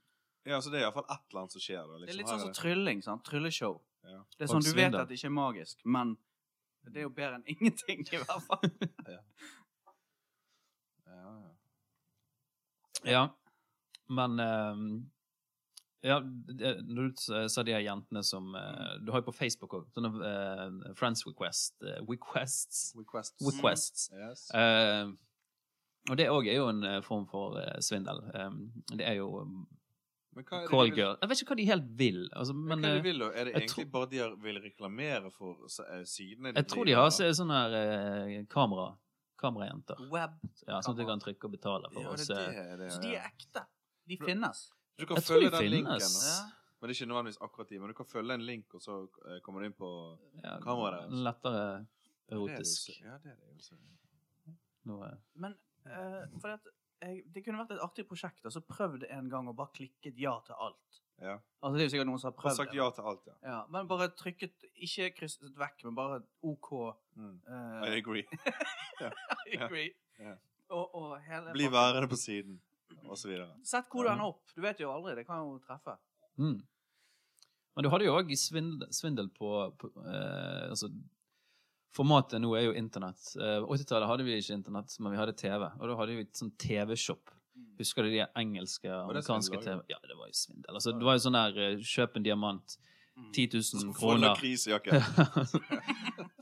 [SPEAKER 3] Ja, så det er iallfall et eller annet som skjer. Da, liksom.
[SPEAKER 1] det er litt
[SPEAKER 3] Her
[SPEAKER 1] sånn som
[SPEAKER 3] det-
[SPEAKER 1] trylling. sant? Trylleshow.
[SPEAKER 3] Ja.
[SPEAKER 1] Det er
[SPEAKER 2] Folk
[SPEAKER 1] sånn, Du vet
[SPEAKER 2] svinner.
[SPEAKER 1] at det ikke er magisk, men det er jo bedre enn ingenting, i hvert fall.
[SPEAKER 3] Ja, ja.
[SPEAKER 2] Ja, men ehm, ja, det- Når du s- sa de her jentene som eh, Du har jo på Facebook òg sånne eh, Friends Request, eh, Requests.
[SPEAKER 3] Requests.
[SPEAKER 2] requests.
[SPEAKER 3] Mm. Yes.
[SPEAKER 2] Eh, og det òg er jo en eh, form for eh, svindel. Eh, det er jo um,
[SPEAKER 3] Men hva er det de
[SPEAKER 2] call
[SPEAKER 3] vil-
[SPEAKER 2] girl Jeg vet ikke hva de helt vil. Altså,
[SPEAKER 3] Men,
[SPEAKER 2] men
[SPEAKER 3] hva er det de
[SPEAKER 2] eh,
[SPEAKER 3] vil, da? Er det
[SPEAKER 2] jeg
[SPEAKER 3] egentlig bare de har- vil reklamere for s- eh, sidene
[SPEAKER 2] jeg tror de
[SPEAKER 3] driver,
[SPEAKER 2] har
[SPEAKER 3] da?
[SPEAKER 2] så- sånne her eh, kamera kamerajenter.
[SPEAKER 1] Web.
[SPEAKER 2] Ja, sånn at du kan trykke og betale for
[SPEAKER 3] Ja,
[SPEAKER 2] å
[SPEAKER 3] det
[SPEAKER 2] se.
[SPEAKER 3] er det, det,
[SPEAKER 1] Så de
[SPEAKER 3] ja.
[SPEAKER 1] er ekte. De finnes.
[SPEAKER 3] Du kan
[SPEAKER 2] Jeg tror
[SPEAKER 3] følge
[SPEAKER 2] de
[SPEAKER 3] den linken.
[SPEAKER 2] finnes.
[SPEAKER 3] da. Men det er ikke nødvendigvis akkurat de. Men du kan følge en link, og så eh, kommer du inn på
[SPEAKER 2] Ja,
[SPEAKER 3] Kamera, altså.
[SPEAKER 2] lettere
[SPEAKER 3] Ja, det er det jo
[SPEAKER 2] erotisk.
[SPEAKER 3] så- Ja, det er det jo. så-
[SPEAKER 2] Noe.
[SPEAKER 1] Men eh, fordi at jeg, det kunne vært et artig prosjekt, og så prøvd en gang og bare klikket ja til alt.
[SPEAKER 3] Ja.
[SPEAKER 1] Altså, det er jo sikkert noen som har
[SPEAKER 3] Har
[SPEAKER 1] prøvd
[SPEAKER 3] sagt
[SPEAKER 1] det.
[SPEAKER 3] ja til alt, ja.
[SPEAKER 1] Ja, men bare trykket Ikke krysset vekk, men bare OK.
[SPEAKER 3] Mm.
[SPEAKER 1] eh,
[SPEAKER 3] I agree. Ja.
[SPEAKER 1] agree.
[SPEAKER 3] Ja.
[SPEAKER 1] Og, og hele
[SPEAKER 3] Bli
[SPEAKER 1] pakken.
[SPEAKER 3] værende på siden, og så videre.
[SPEAKER 1] Sett hvor du
[SPEAKER 2] Ja.
[SPEAKER 1] ender opp. Du vet jo aldri. Det kan jo treffe.
[SPEAKER 2] Mm. Men du hadde jo òg svindel, svindel på, på eh, altså, Formatet nå er jo internett. Eh, På 80-tallet hadde vi ikke internett, men vi hadde TV. Og da hadde vi et sånn TV-shop.
[SPEAKER 3] Mm.
[SPEAKER 2] Husker du de engelske,
[SPEAKER 3] det
[SPEAKER 2] amerikanske
[SPEAKER 3] svindel
[SPEAKER 2] TV? Ja, det var jo svindel. Altså, det var jo sånn der eh, kjøp en diamant,
[SPEAKER 1] Mm.
[SPEAKER 2] 10
[SPEAKER 3] Så
[SPEAKER 2] 000
[SPEAKER 3] får du
[SPEAKER 2] kroner.
[SPEAKER 3] lakrisjakke.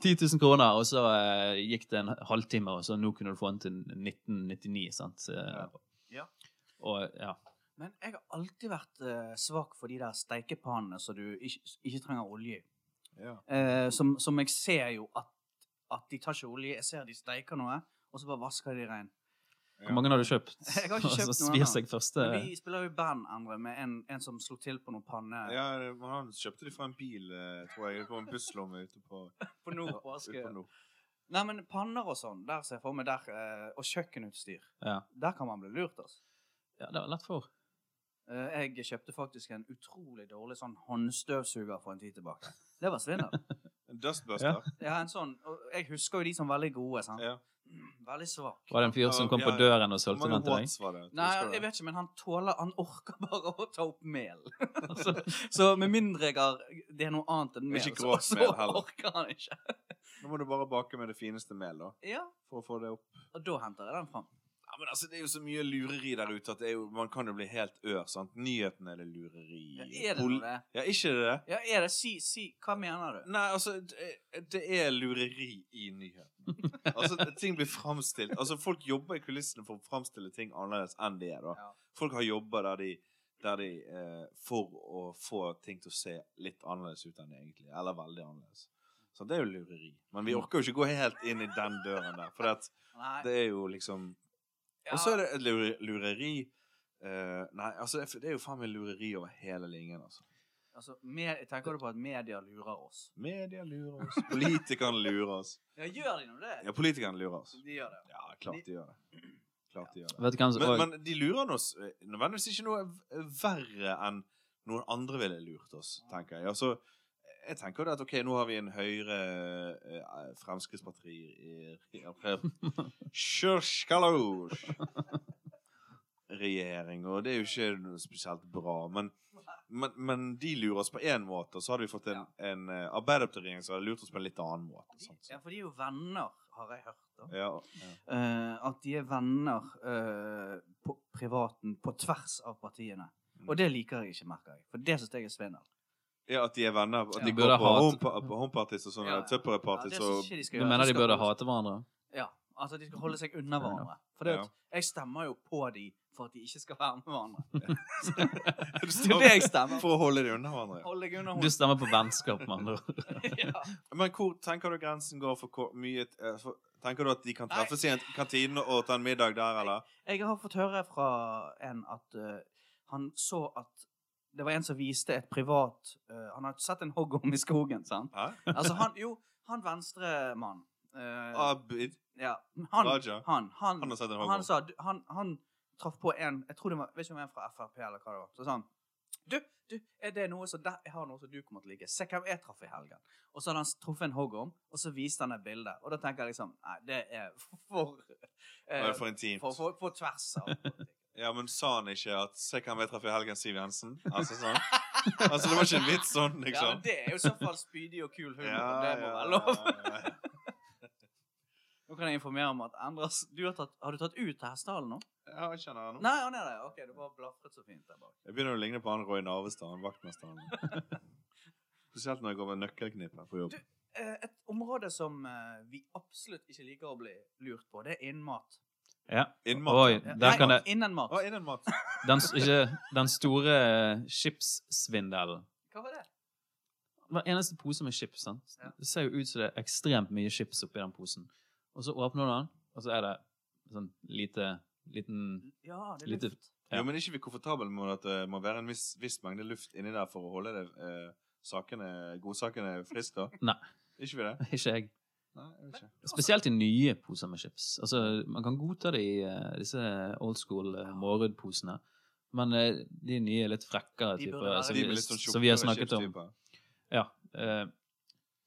[SPEAKER 2] 10 000 kroner, og så eh, gikk det en halvtime, og så nå kunne du få den til 1999, sant? Eh,
[SPEAKER 3] Ja.
[SPEAKER 1] Ja.
[SPEAKER 2] Og ja.
[SPEAKER 1] Men jeg har alltid vært eh, svak for de der steikepannene som du ikke, ikke trenger olje i.
[SPEAKER 3] Ja.
[SPEAKER 1] Eh, som, som jeg ser jo at, at de tar ikke olje. Jeg ser de steiker noe, og så bare vasker de rein.
[SPEAKER 2] Hvor mange har du kjøpt?
[SPEAKER 1] Jeg har ikke
[SPEAKER 2] Og
[SPEAKER 1] kjøpt
[SPEAKER 2] så
[SPEAKER 1] noen
[SPEAKER 2] svir
[SPEAKER 1] ennå.
[SPEAKER 2] seg første
[SPEAKER 1] Men Vi spiller jo i band, Endre, med en, en som slo til på noen panne
[SPEAKER 3] Ja, men han kjøpte de fra en bil, eh, tror jeg, på en busslomme ute på,
[SPEAKER 1] på nord på
[SPEAKER 3] ute
[SPEAKER 1] Askøy.
[SPEAKER 3] på nord.
[SPEAKER 1] Nei, men panner og sånn, der ser jeg for meg der, eh, og kjøkkenutstyr.
[SPEAKER 2] Ja.
[SPEAKER 1] Der kan man bli lurt, altså.
[SPEAKER 2] ja, det var lett for.
[SPEAKER 1] Eh, Jeg kjøpte faktisk en utrolig dårlig sånn håndstøvsuger for en tid tilbake. Det var svindel.
[SPEAKER 3] En Dustbuster.
[SPEAKER 1] Ja, en sånn, og jeg husker jo de som veldig gode, sant?
[SPEAKER 3] Ja.
[SPEAKER 1] Veldig svak.
[SPEAKER 2] Var det en fyr som kom på døren og
[SPEAKER 3] Hvor
[SPEAKER 2] solgte
[SPEAKER 3] mange
[SPEAKER 2] den til deg?
[SPEAKER 3] watts var det? Husker
[SPEAKER 1] Nei,
[SPEAKER 3] du
[SPEAKER 1] jeg
[SPEAKER 3] det?
[SPEAKER 1] vet ikke, men han tåler, han orker bare å ta opp mel.
[SPEAKER 2] Altså,
[SPEAKER 1] Så med mindre jeg har Det er noe annet enn mel,
[SPEAKER 3] Ikke
[SPEAKER 1] så,
[SPEAKER 3] grovt
[SPEAKER 1] så
[SPEAKER 3] mel heller.
[SPEAKER 1] orker han ikke.
[SPEAKER 3] Nå må du bare bake med det fineste mel, da.
[SPEAKER 1] Ja,
[SPEAKER 3] For å få det opp.
[SPEAKER 1] og da henter jeg den fram.
[SPEAKER 3] Ja, men altså, Det er jo så mye lureri der ute at det er jo, man kan jo bli helt ør. sant? Nyheten er det lureri
[SPEAKER 1] Ja, er det
[SPEAKER 3] Pol-
[SPEAKER 1] noe det?
[SPEAKER 3] Ja, ikke det det?
[SPEAKER 1] Ja, er det? Si, si, hva mener du?
[SPEAKER 3] Nei, altså, det- det er lureri i nyhetene. Altså, ting blir framstilt Altså, folk jobber i kulissene for å framstille ting annerledes enn de er, da.
[SPEAKER 1] Ja.
[SPEAKER 3] Folk har jobber der de, der de eh, For å få ting til å se litt annerledes ut enn det egentlig Eller veldig annerledes. Så det er jo lureri. Men vi orker jo ikke gå helt inn i den døren der, for at
[SPEAKER 1] Nei.
[SPEAKER 3] det er jo liksom Og så er det et lure- lureri eh, Nei, altså, det er- det er jo faen meg lureri over hele linjen, altså.
[SPEAKER 1] altså, med, tenker du på at media lurer oss?
[SPEAKER 3] Media lurer oss. Politikerne lurer oss.
[SPEAKER 1] Ja, gjør de nå det?
[SPEAKER 3] Ja, politikerne lurer oss.
[SPEAKER 1] De gjør det.
[SPEAKER 3] Ja, klart de gjør det. Klart de gjør det.
[SPEAKER 2] vet du hvem som
[SPEAKER 3] Men,
[SPEAKER 2] også-
[SPEAKER 3] men de lurer oss eh, nødvendigvis ikke noe v- verre enn noen andre ville lurt oss, tenker jeg. Altså, jeg tenker jo det at ok, nå har vi en høyre eh, Fremskrittsparti i- i- Kjørskalos! Regjering, og det er jo ikke noe spesielt bra. Men, men, men de lurer oss på én måte, og så hadde vi fått en, en eh, Arbeiderparti-regjering som hadde lurt oss på en litt annen måte.
[SPEAKER 1] De,
[SPEAKER 3] Sant?
[SPEAKER 1] ja, for de er jo venner, har jeg hørt. da.
[SPEAKER 3] Ja, ja.
[SPEAKER 1] Eh, at de er venner eh, på privaten på tvers av partiene.
[SPEAKER 3] Mm.
[SPEAKER 1] Og det liker jeg ikke, merker jeg. For det syns jeg er svindel.
[SPEAKER 3] Ja, at de er venner. At
[SPEAKER 1] Ja.
[SPEAKER 2] De
[SPEAKER 3] de går
[SPEAKER 2] burde
[SPEAKER 3] på
[SPEAKER 2] ha-
[SPEAKER 3] home, på home parties og sånne
[SPEAKER 1] Ja, ja.
[SPEAKER 3] tupperware
[SPEAKER 1] Ja,
[SPEAKER 3] parties
[SPEAKER 1] det synes
[SPEAKER 3] og
[SPEAKER 1] ikke de skal
[SPEAKER 2] Du
[SPEAKER 1] gjøre.
[SPEAKER 2] mener de
[SPEAKER 1] skal
[SPEAKER 2] burde
[SPEAKER 1] holde-
[SPEAKER 2] hate hverandre?
[SPEAKER 1] Ja, altså de skal holde seg unna hverandre. For det, at jeg stemmer jo på de for at de ikke skal være med hverandre. Det er det jeg stemmer på.
[SPEAKER 3] For å holde de unna hverandre.
[SPEAKER 1] Hold deg unna
[SPEAKER 2] Du
[SPEAKER 1] henne.
[SPEAKER 2] stemmer på vennskap, med andre ord.
[SPEAKER 1] Ja.
[SPEAKER 3] ja. Men hvor tenker du grensen går for hvor mye eh, for, Tenker du at de kan
[SPEAKER 1] Nei.
[SPEAKER 3] treffes i en kantine og ta en middag der, eller?
[SPEAKER 1] Jeg har fått høre fra en at eh, han så at det var en som viste et privat eh, Han har sett en hoggorm i skogen, sant?
[SPEAKER 3] Hæ?
[SPEAKER 1] Altså han, jo, han venstremannen. Uh,
[SPEAKER 3] Abid
[SPEAKER 1] ja. Han,
[SPEAKER 3] Ah. Raja?
[SPEAKER 1] han, han,
[SPEAKER 3] Han har sett en
[SPEAKER 1] han,
[SPEAKER 3] hoggorm.
[SPEAKER 1] sa Han, han traff på en Jeg tror det var, vet ikke om en fra Frp eller hva det var. Så sa han Du, du, er det noe som der, jeg har noe som du kommer til å like. Se hvem jeg traff i helgen. Og så hadde han truffet en hoggorm, og så viste han et bilde. Og da tenker jeg liksom Nei, det er for eh,
[SPEAKER 3] Var det for intimt?
[SPEAKER 1] for, for, for tvers av politikk.
[SPEAKER 3] Ja, men sa han ikke at 'se hvem jeg traff i helgen', Siv Jensen? Altså sånn? Altså, det var ikke en vits sånn,
[SPEAKER 1] Ja, men
[SPEAKER 3] liksom?
[SPEAKER 1] det er jo i så fall spydig og kul humor.
[SPEAKER 3] Ja,
[SPEAKER 1] det må
[SPEAKER 3] ja,
[SPEAKER 1] være lov.
[SPEAKER 3] ja, ja.
[SPEAKER 1] Nå kan jeg informere om at Endres du har, tatt, har du tatt ut til hestehalen nå?
[SPEAKER 3] Ja, jeg kjenner han nå.
[SPEAKER 1] Nei, han er det. Ok, du bare blafret så fint der bak.
[SPEAKER 3] Jeg begynner å ligne på han Roy Narvestad, han vaktmesteren. Spesielt når jeg går med nøkkelknippet på jobb.
[SPEAKER 1] Du- Eh, Et område som eh, vi absolutt ikke liker å bli lurt på, det er innen mat.
[SPEAKER 2] Ja.
[SPEAKER 3] Innmat.
[SPEAKER 2] Oi,
[SPEAKER 1] Eh,
[SPEAKER 2] der kan
[SPEAKER 1] nei,
[SPEAKER 2] det
[SPEAKER 1] innen mat.
[SPEAKER 3] Å, innen mat.
[SPEAKER 2] den, s- ikke, den store eh, chipssvindelen.
[SPEAKER 1] Hva var det?
[SPEAKER 2] Hver eneste pose med chips, sant?
[SPEAKER 1] Ja.
[SPEAKER 2] Det ser jo ut som det er ekstremt mye chips oppi den posen. Og så åpner du den, og så er det sånn lite Liten
[SPEAKER 1] Ja, det er
[SPEAKER 2] Litt-
[SPEAKER 1] luft.
[SPEAKER 2] Ja.
[SPEAKER 3] Jo, men er ikke vi komfortable med at det må være en viss, viss mengde luft inni der for å holde det, eh, sakene, godsakene friske, da?
[SPEAKER 2] Nei.
[SPEAKER 3] Er Ikke vi det?
[SPEAKER 2] Ikke jeg.
[SPEAKER 3] Nei, jeg vet ikke.
[SPEAKER 2] Spesielt i nye poser med chips. Altså, man kan godta det i eh, disse old school eh, Mårud-posene. Men eh, de nye er litt frekkere
[SPEAKER 1] De burde
[SPEAKER 2] typer,
[SPEAKER 1] være-
[SPEAKER 2] som
[SPEAKER 1] De
[SPEAKER 2] vi,
[SPEAKER 3] med litt sånn
[SPEAKER 2] som vi har
[SPEAKER 3] tjukkere
[SPEAKER 2] snakket om.
[SPEAKER 3] chipstyper.
[SPEAKER 2] Ja, eh,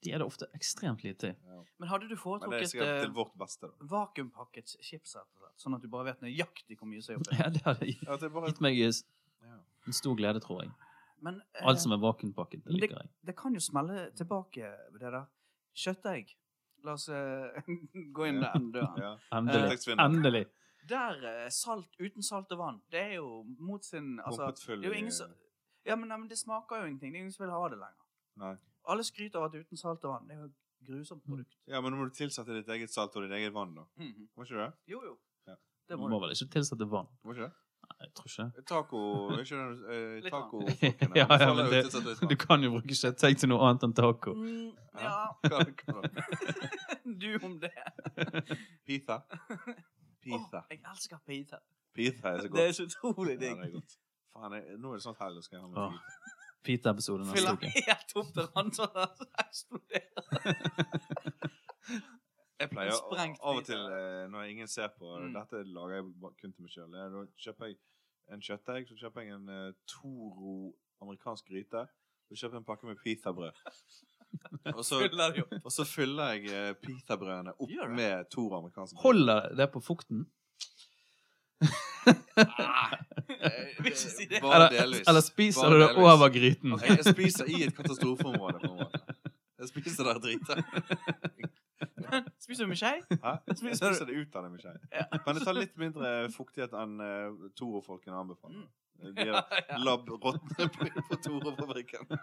[SPEAKER 2] de er det ofte ekstremt lite i.
[SPEAKER 3] Ja.
[SPEAKER 1] Men
[SPEAKER 3] Men
[SPEAKER 1] hadde du
[SPEAKER 3] det er
[SPEAKER 1] foretrukket
[SPEAKER 3] sikkert til
[SPEAKER 1] eh,
[SPEAKER 3] vårt beste, da.
[SPEAKER 1] vakuumpakket chips, rett og slett, sånn at du bare vet nøyaktig hvor mye som er oppi?
[SPEAKER 2] Ja, det hadde gi-
[SPEAKER 3] Ja, det er bare...
[SPEAKER 2] gitt meg s-
[SPEAKER 3] Ja.
[SPEAKER 2] en stor glede, tror jeg.
[SPEAKER 1] Men eh,
[SPEAKER 2] Alt som er vakuumpakket, det
[SPEAKER 1] men
[SPEAKER 2] liker jeg.
[SPEAKER 1] det kan jo smelle tilbake, det der. Kjøttdeig. La oss eh, gå inn
[SPEAKER 3] Ja.
[SPEAKER 1] den døren.
[SPEAKER 3] Ja.
[SPEAKER 2] Endelig.
[SPEAKER 3] Inntektsvindel.
[SPEAKER 2] Endelig.
[SPEAKER 1] Der eh, salt uten salt og vann, det er jo mot sin altså,
[SPEAKER 3] Pumpet full
[SPEAKER 1] det er jo
[SPEAKER 3] i-
[SPEAKER 1] ingen som- Ja, men, nei, men det smaker jo ingenting. Det er ingen som vil ha det lenger.
[SPEAKER 3] Nei. Mm.
[SPEAKER 1] Alle skryter av at uten salt og vann. Det er jo et grusomt produkt.
[SPEAKER 3] Ja, men nå må du tilsette ditt eget salt og ditt eget vann, da.
[SPEAKER 1] Mhm.
[SPEAKER 3] Må ikke du det?
[SPEAKER 1] Jo, jo.
[SPEAKER 3] Ja.
[SPEAKER 1] Det
[SPEAKER 2] Du
[SPEAKER 1] må
[SPEAKER 2] må
[SPEAKER 1] du.
[SPEAKER 2] vel ikke tilsette vann?
[SPEAKER 3] Må ikke det?
[SPEAKER 2] Nei, jeg tror ikke det.
[SPEAKER 3] Taco Ikke eh, den
[SPEAKER 1] Litt
[SPEAKER 3] taco
[SPEAKER 2] Ja, ja, men det, du kan jo bruke kjøttdeig til noe annet enn taco.
[SPEAKER 1] Mm, ja,
[SPEAKER 3] Ja. Hva- hva da?
[SPEAKER 1] du om det.
[SPEAKER 3] Pizza. Pizza.
[SPEAKER 1] Åh, jeg elsker pizza.
[SPEAKER 3] Pizza er så
[SPEAKER 1] Det er
[SPEAKER 3] godt.
[SPEAKER 1] så utrolig
[SPEAKER 3] Ja,
[SPEAKER 1] digg.
[SPEAKER 3] det er godt. Faen, jeg, nå er det sånn snart helg, og skal jeg ha
[SPEAKER 2] Åh.
[SPEAKER 3] med pizza.
[SPEAKER 2] Pita-episode neste
[SPEAKER 1] Fyller
[SPEAKER 2] uke.
[SPEAKER 1] helt opp til han sånn at det eksploderer.
[SPEAKER 3] Jeg pleier å-
[SPEAKER 1] Sprengt
[SPEAKER 3] av og
[SPEAKER 1] pizza.
[SPEAKER 3] til eh, når ingen ser på
[SPEAKER 1] Mm.
[SPEAKER 3] Dette lager jeg ba- kun til meg sjøl. Da kjøper jeg en kjøttdeig, så kjøper jeg en eh, Toro amerikansk gryte. Så kjøper jeg en pakke med pizzabrød. Og så,
[SPEAKER 1] Fyller det jo.
[SPEAKER 3] og så fyller jeg eh, pizzabrødene opp
[SPEAKER 1] Gjør det.
[SPEAKER 3] med Toro amerikansk brød.
[SPEAKER 2] Holder det på fukten?
[SPEAKER 3] Eh,
[SPEAKER 1] Vil ikke si det.
[SPEAKER 3] Bare
[SPEAKER 2] Eller,
[SPEAKER 3] delvis.
[SPEAKER 2] eller spiser
[SPEAKER 3] Bare
[SPEAKER 2] du det
[SPEAKER 3] delvis.
[SPEAKER 2] over gryten?
[SPEAKER 3] Jeg, jeg spiser i et katastrofeområde, på en måte. Jeg spiser der drita.
[SPEAKER 1] Spiser du med skje?
[SPEAKER 3] Hæ? Jeg spiser det ut av det med skje.
[SPEAKER 1] Ja.
[SPEAKER 3] Men det tar litt mindre fuktighet enn uh, Toro-folkene anbefaler. Eh, De
[SPEAKER 1] Ja,
[SPEAKER 3] er
[SPEAKER 1] Mm. ja.
[SPEAKER 3] labbrottene på, på Toro-fabrikken.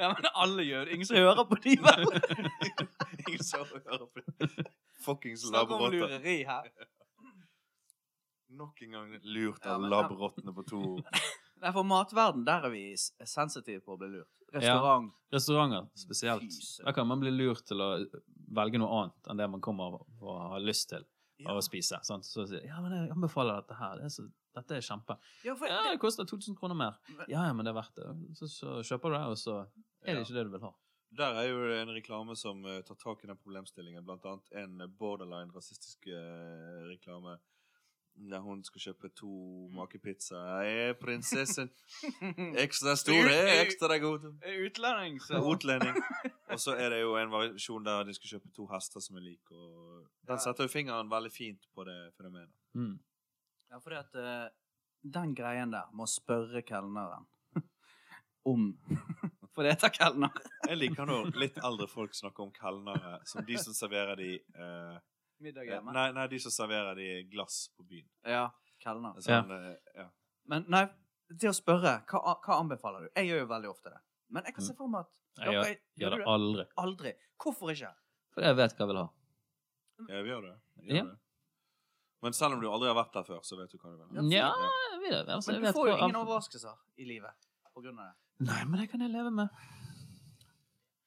[SPEAKER 1] ja, men alle gjør det. Ingen som hører på de, vel?
[SPEAKER 3] Ingen som hører på det. Fuckings
[SPEAKER 1] Snakk om
[SPEAKER 3] labbrotter.
[SPEAKER 1] lureri her.
[SPEAKER 3] Nok en gang lurt
[SPEAKER 1] Ja,
[SPEAKER 3] av
[SPEAKER 1] men-
[SPEAKER 3] labbrottene på Toro.
[SPEAKER 1] Nei, for matverden, der er vi s- sensitive på å bli lurt. Restaurant.
[SPEAKER 2] Restauranter spesielt.
[SPEAKER 1] Fy søren.
[SPEAKER 2] Da kan man bli lurt til å velge noe annet enn det man kommer av og har lyst til
[SPEAKER 1] Ja,
[SPEAKER 2] å spise. Sant? Så sier de, ja, men jeg anbefaler dette her. Det er så, dette er kjempe.
[SPEAKER 1] ja for
[SPEAKER 2] Ja,
[SPEAKER 1] det,
[SPEAKER 2] det koster 2000 kroner mer. Ja, ja, men det er verdt det. Så, så kjøper du det, og så er
[SPEAKER 3] Ja.
[SPEAKER 2] det ikke det du vil ha.
[SPEAKER 3] Der er jo en reklame som eh, tar tak i den problemstillingen. Blant annet en borderline rasistisk eh, reklame der hun skal kjøpe to makepizza. Er prinsessen ekstra stor? Er ekstra god?
[SPEAKER 1] Utlending, så
[SPEAKER 3] Utlending. Og så er det jo en variasjon der de skal kjøpe to hester som er like. Og
[SPEAKER 1] Ja.
[SPEAKER 3] den setter jo fingeren veldig fint på det fenomenet.
[SPEAKER 2] Mm.
[SPEAKER 1] Ja, fordi at eh, den greien der må spørre kelneren om For det heter kelner.
[SPEAKER 3] Jeg liker når litt eldre folk snakker om kelnere som de som serverer de eh,
[SPEAKER 1] Middag
[SPEAKER 3] eh, nei, nei, de som serverer de glass på byen.
[SPEAKER 1] Ja, kelner.
[SPEAKER 3] Sånn, eh, ja.
[SPEAKER 1] Men nei, til å spørre, hva, hva anbefaler du? Jeg gjør jo veldig ofte det. Men jeg kan se for meg at
[SPEAKER 2] Jeg gjør,
[SPEAKER 1] dere-
[SPEAKER 2] gjør
[SPEAKER 1] du
[SPEAKER 2] det aldri.
[SPEAKER 1] aldri. Hvorfor ikke?
[SPEAKER 2] For jeg vet hva jeg vil ha.
[SPEAKER 3] Ja, vi gjør det. Vi
[SPEAKER 2] Ja.
[SPEAKER 3] gjør det. Men selv om du aldri har vært der før, så vet du hva du vil.
[SPEAKER 1] for-
[SPEAKER 2] Ja, jeg vet, altså, jeg
[SPEAKER 1] Men du
[SPEAKER 2] vet
[SPEAKER 1] får jo
[SPEAKER 2] hva-
[SPEAKER 1] ingen overraskelser i livet på grunn av det.
[SPEAKER 2] Nei, men det kan jeg leve med.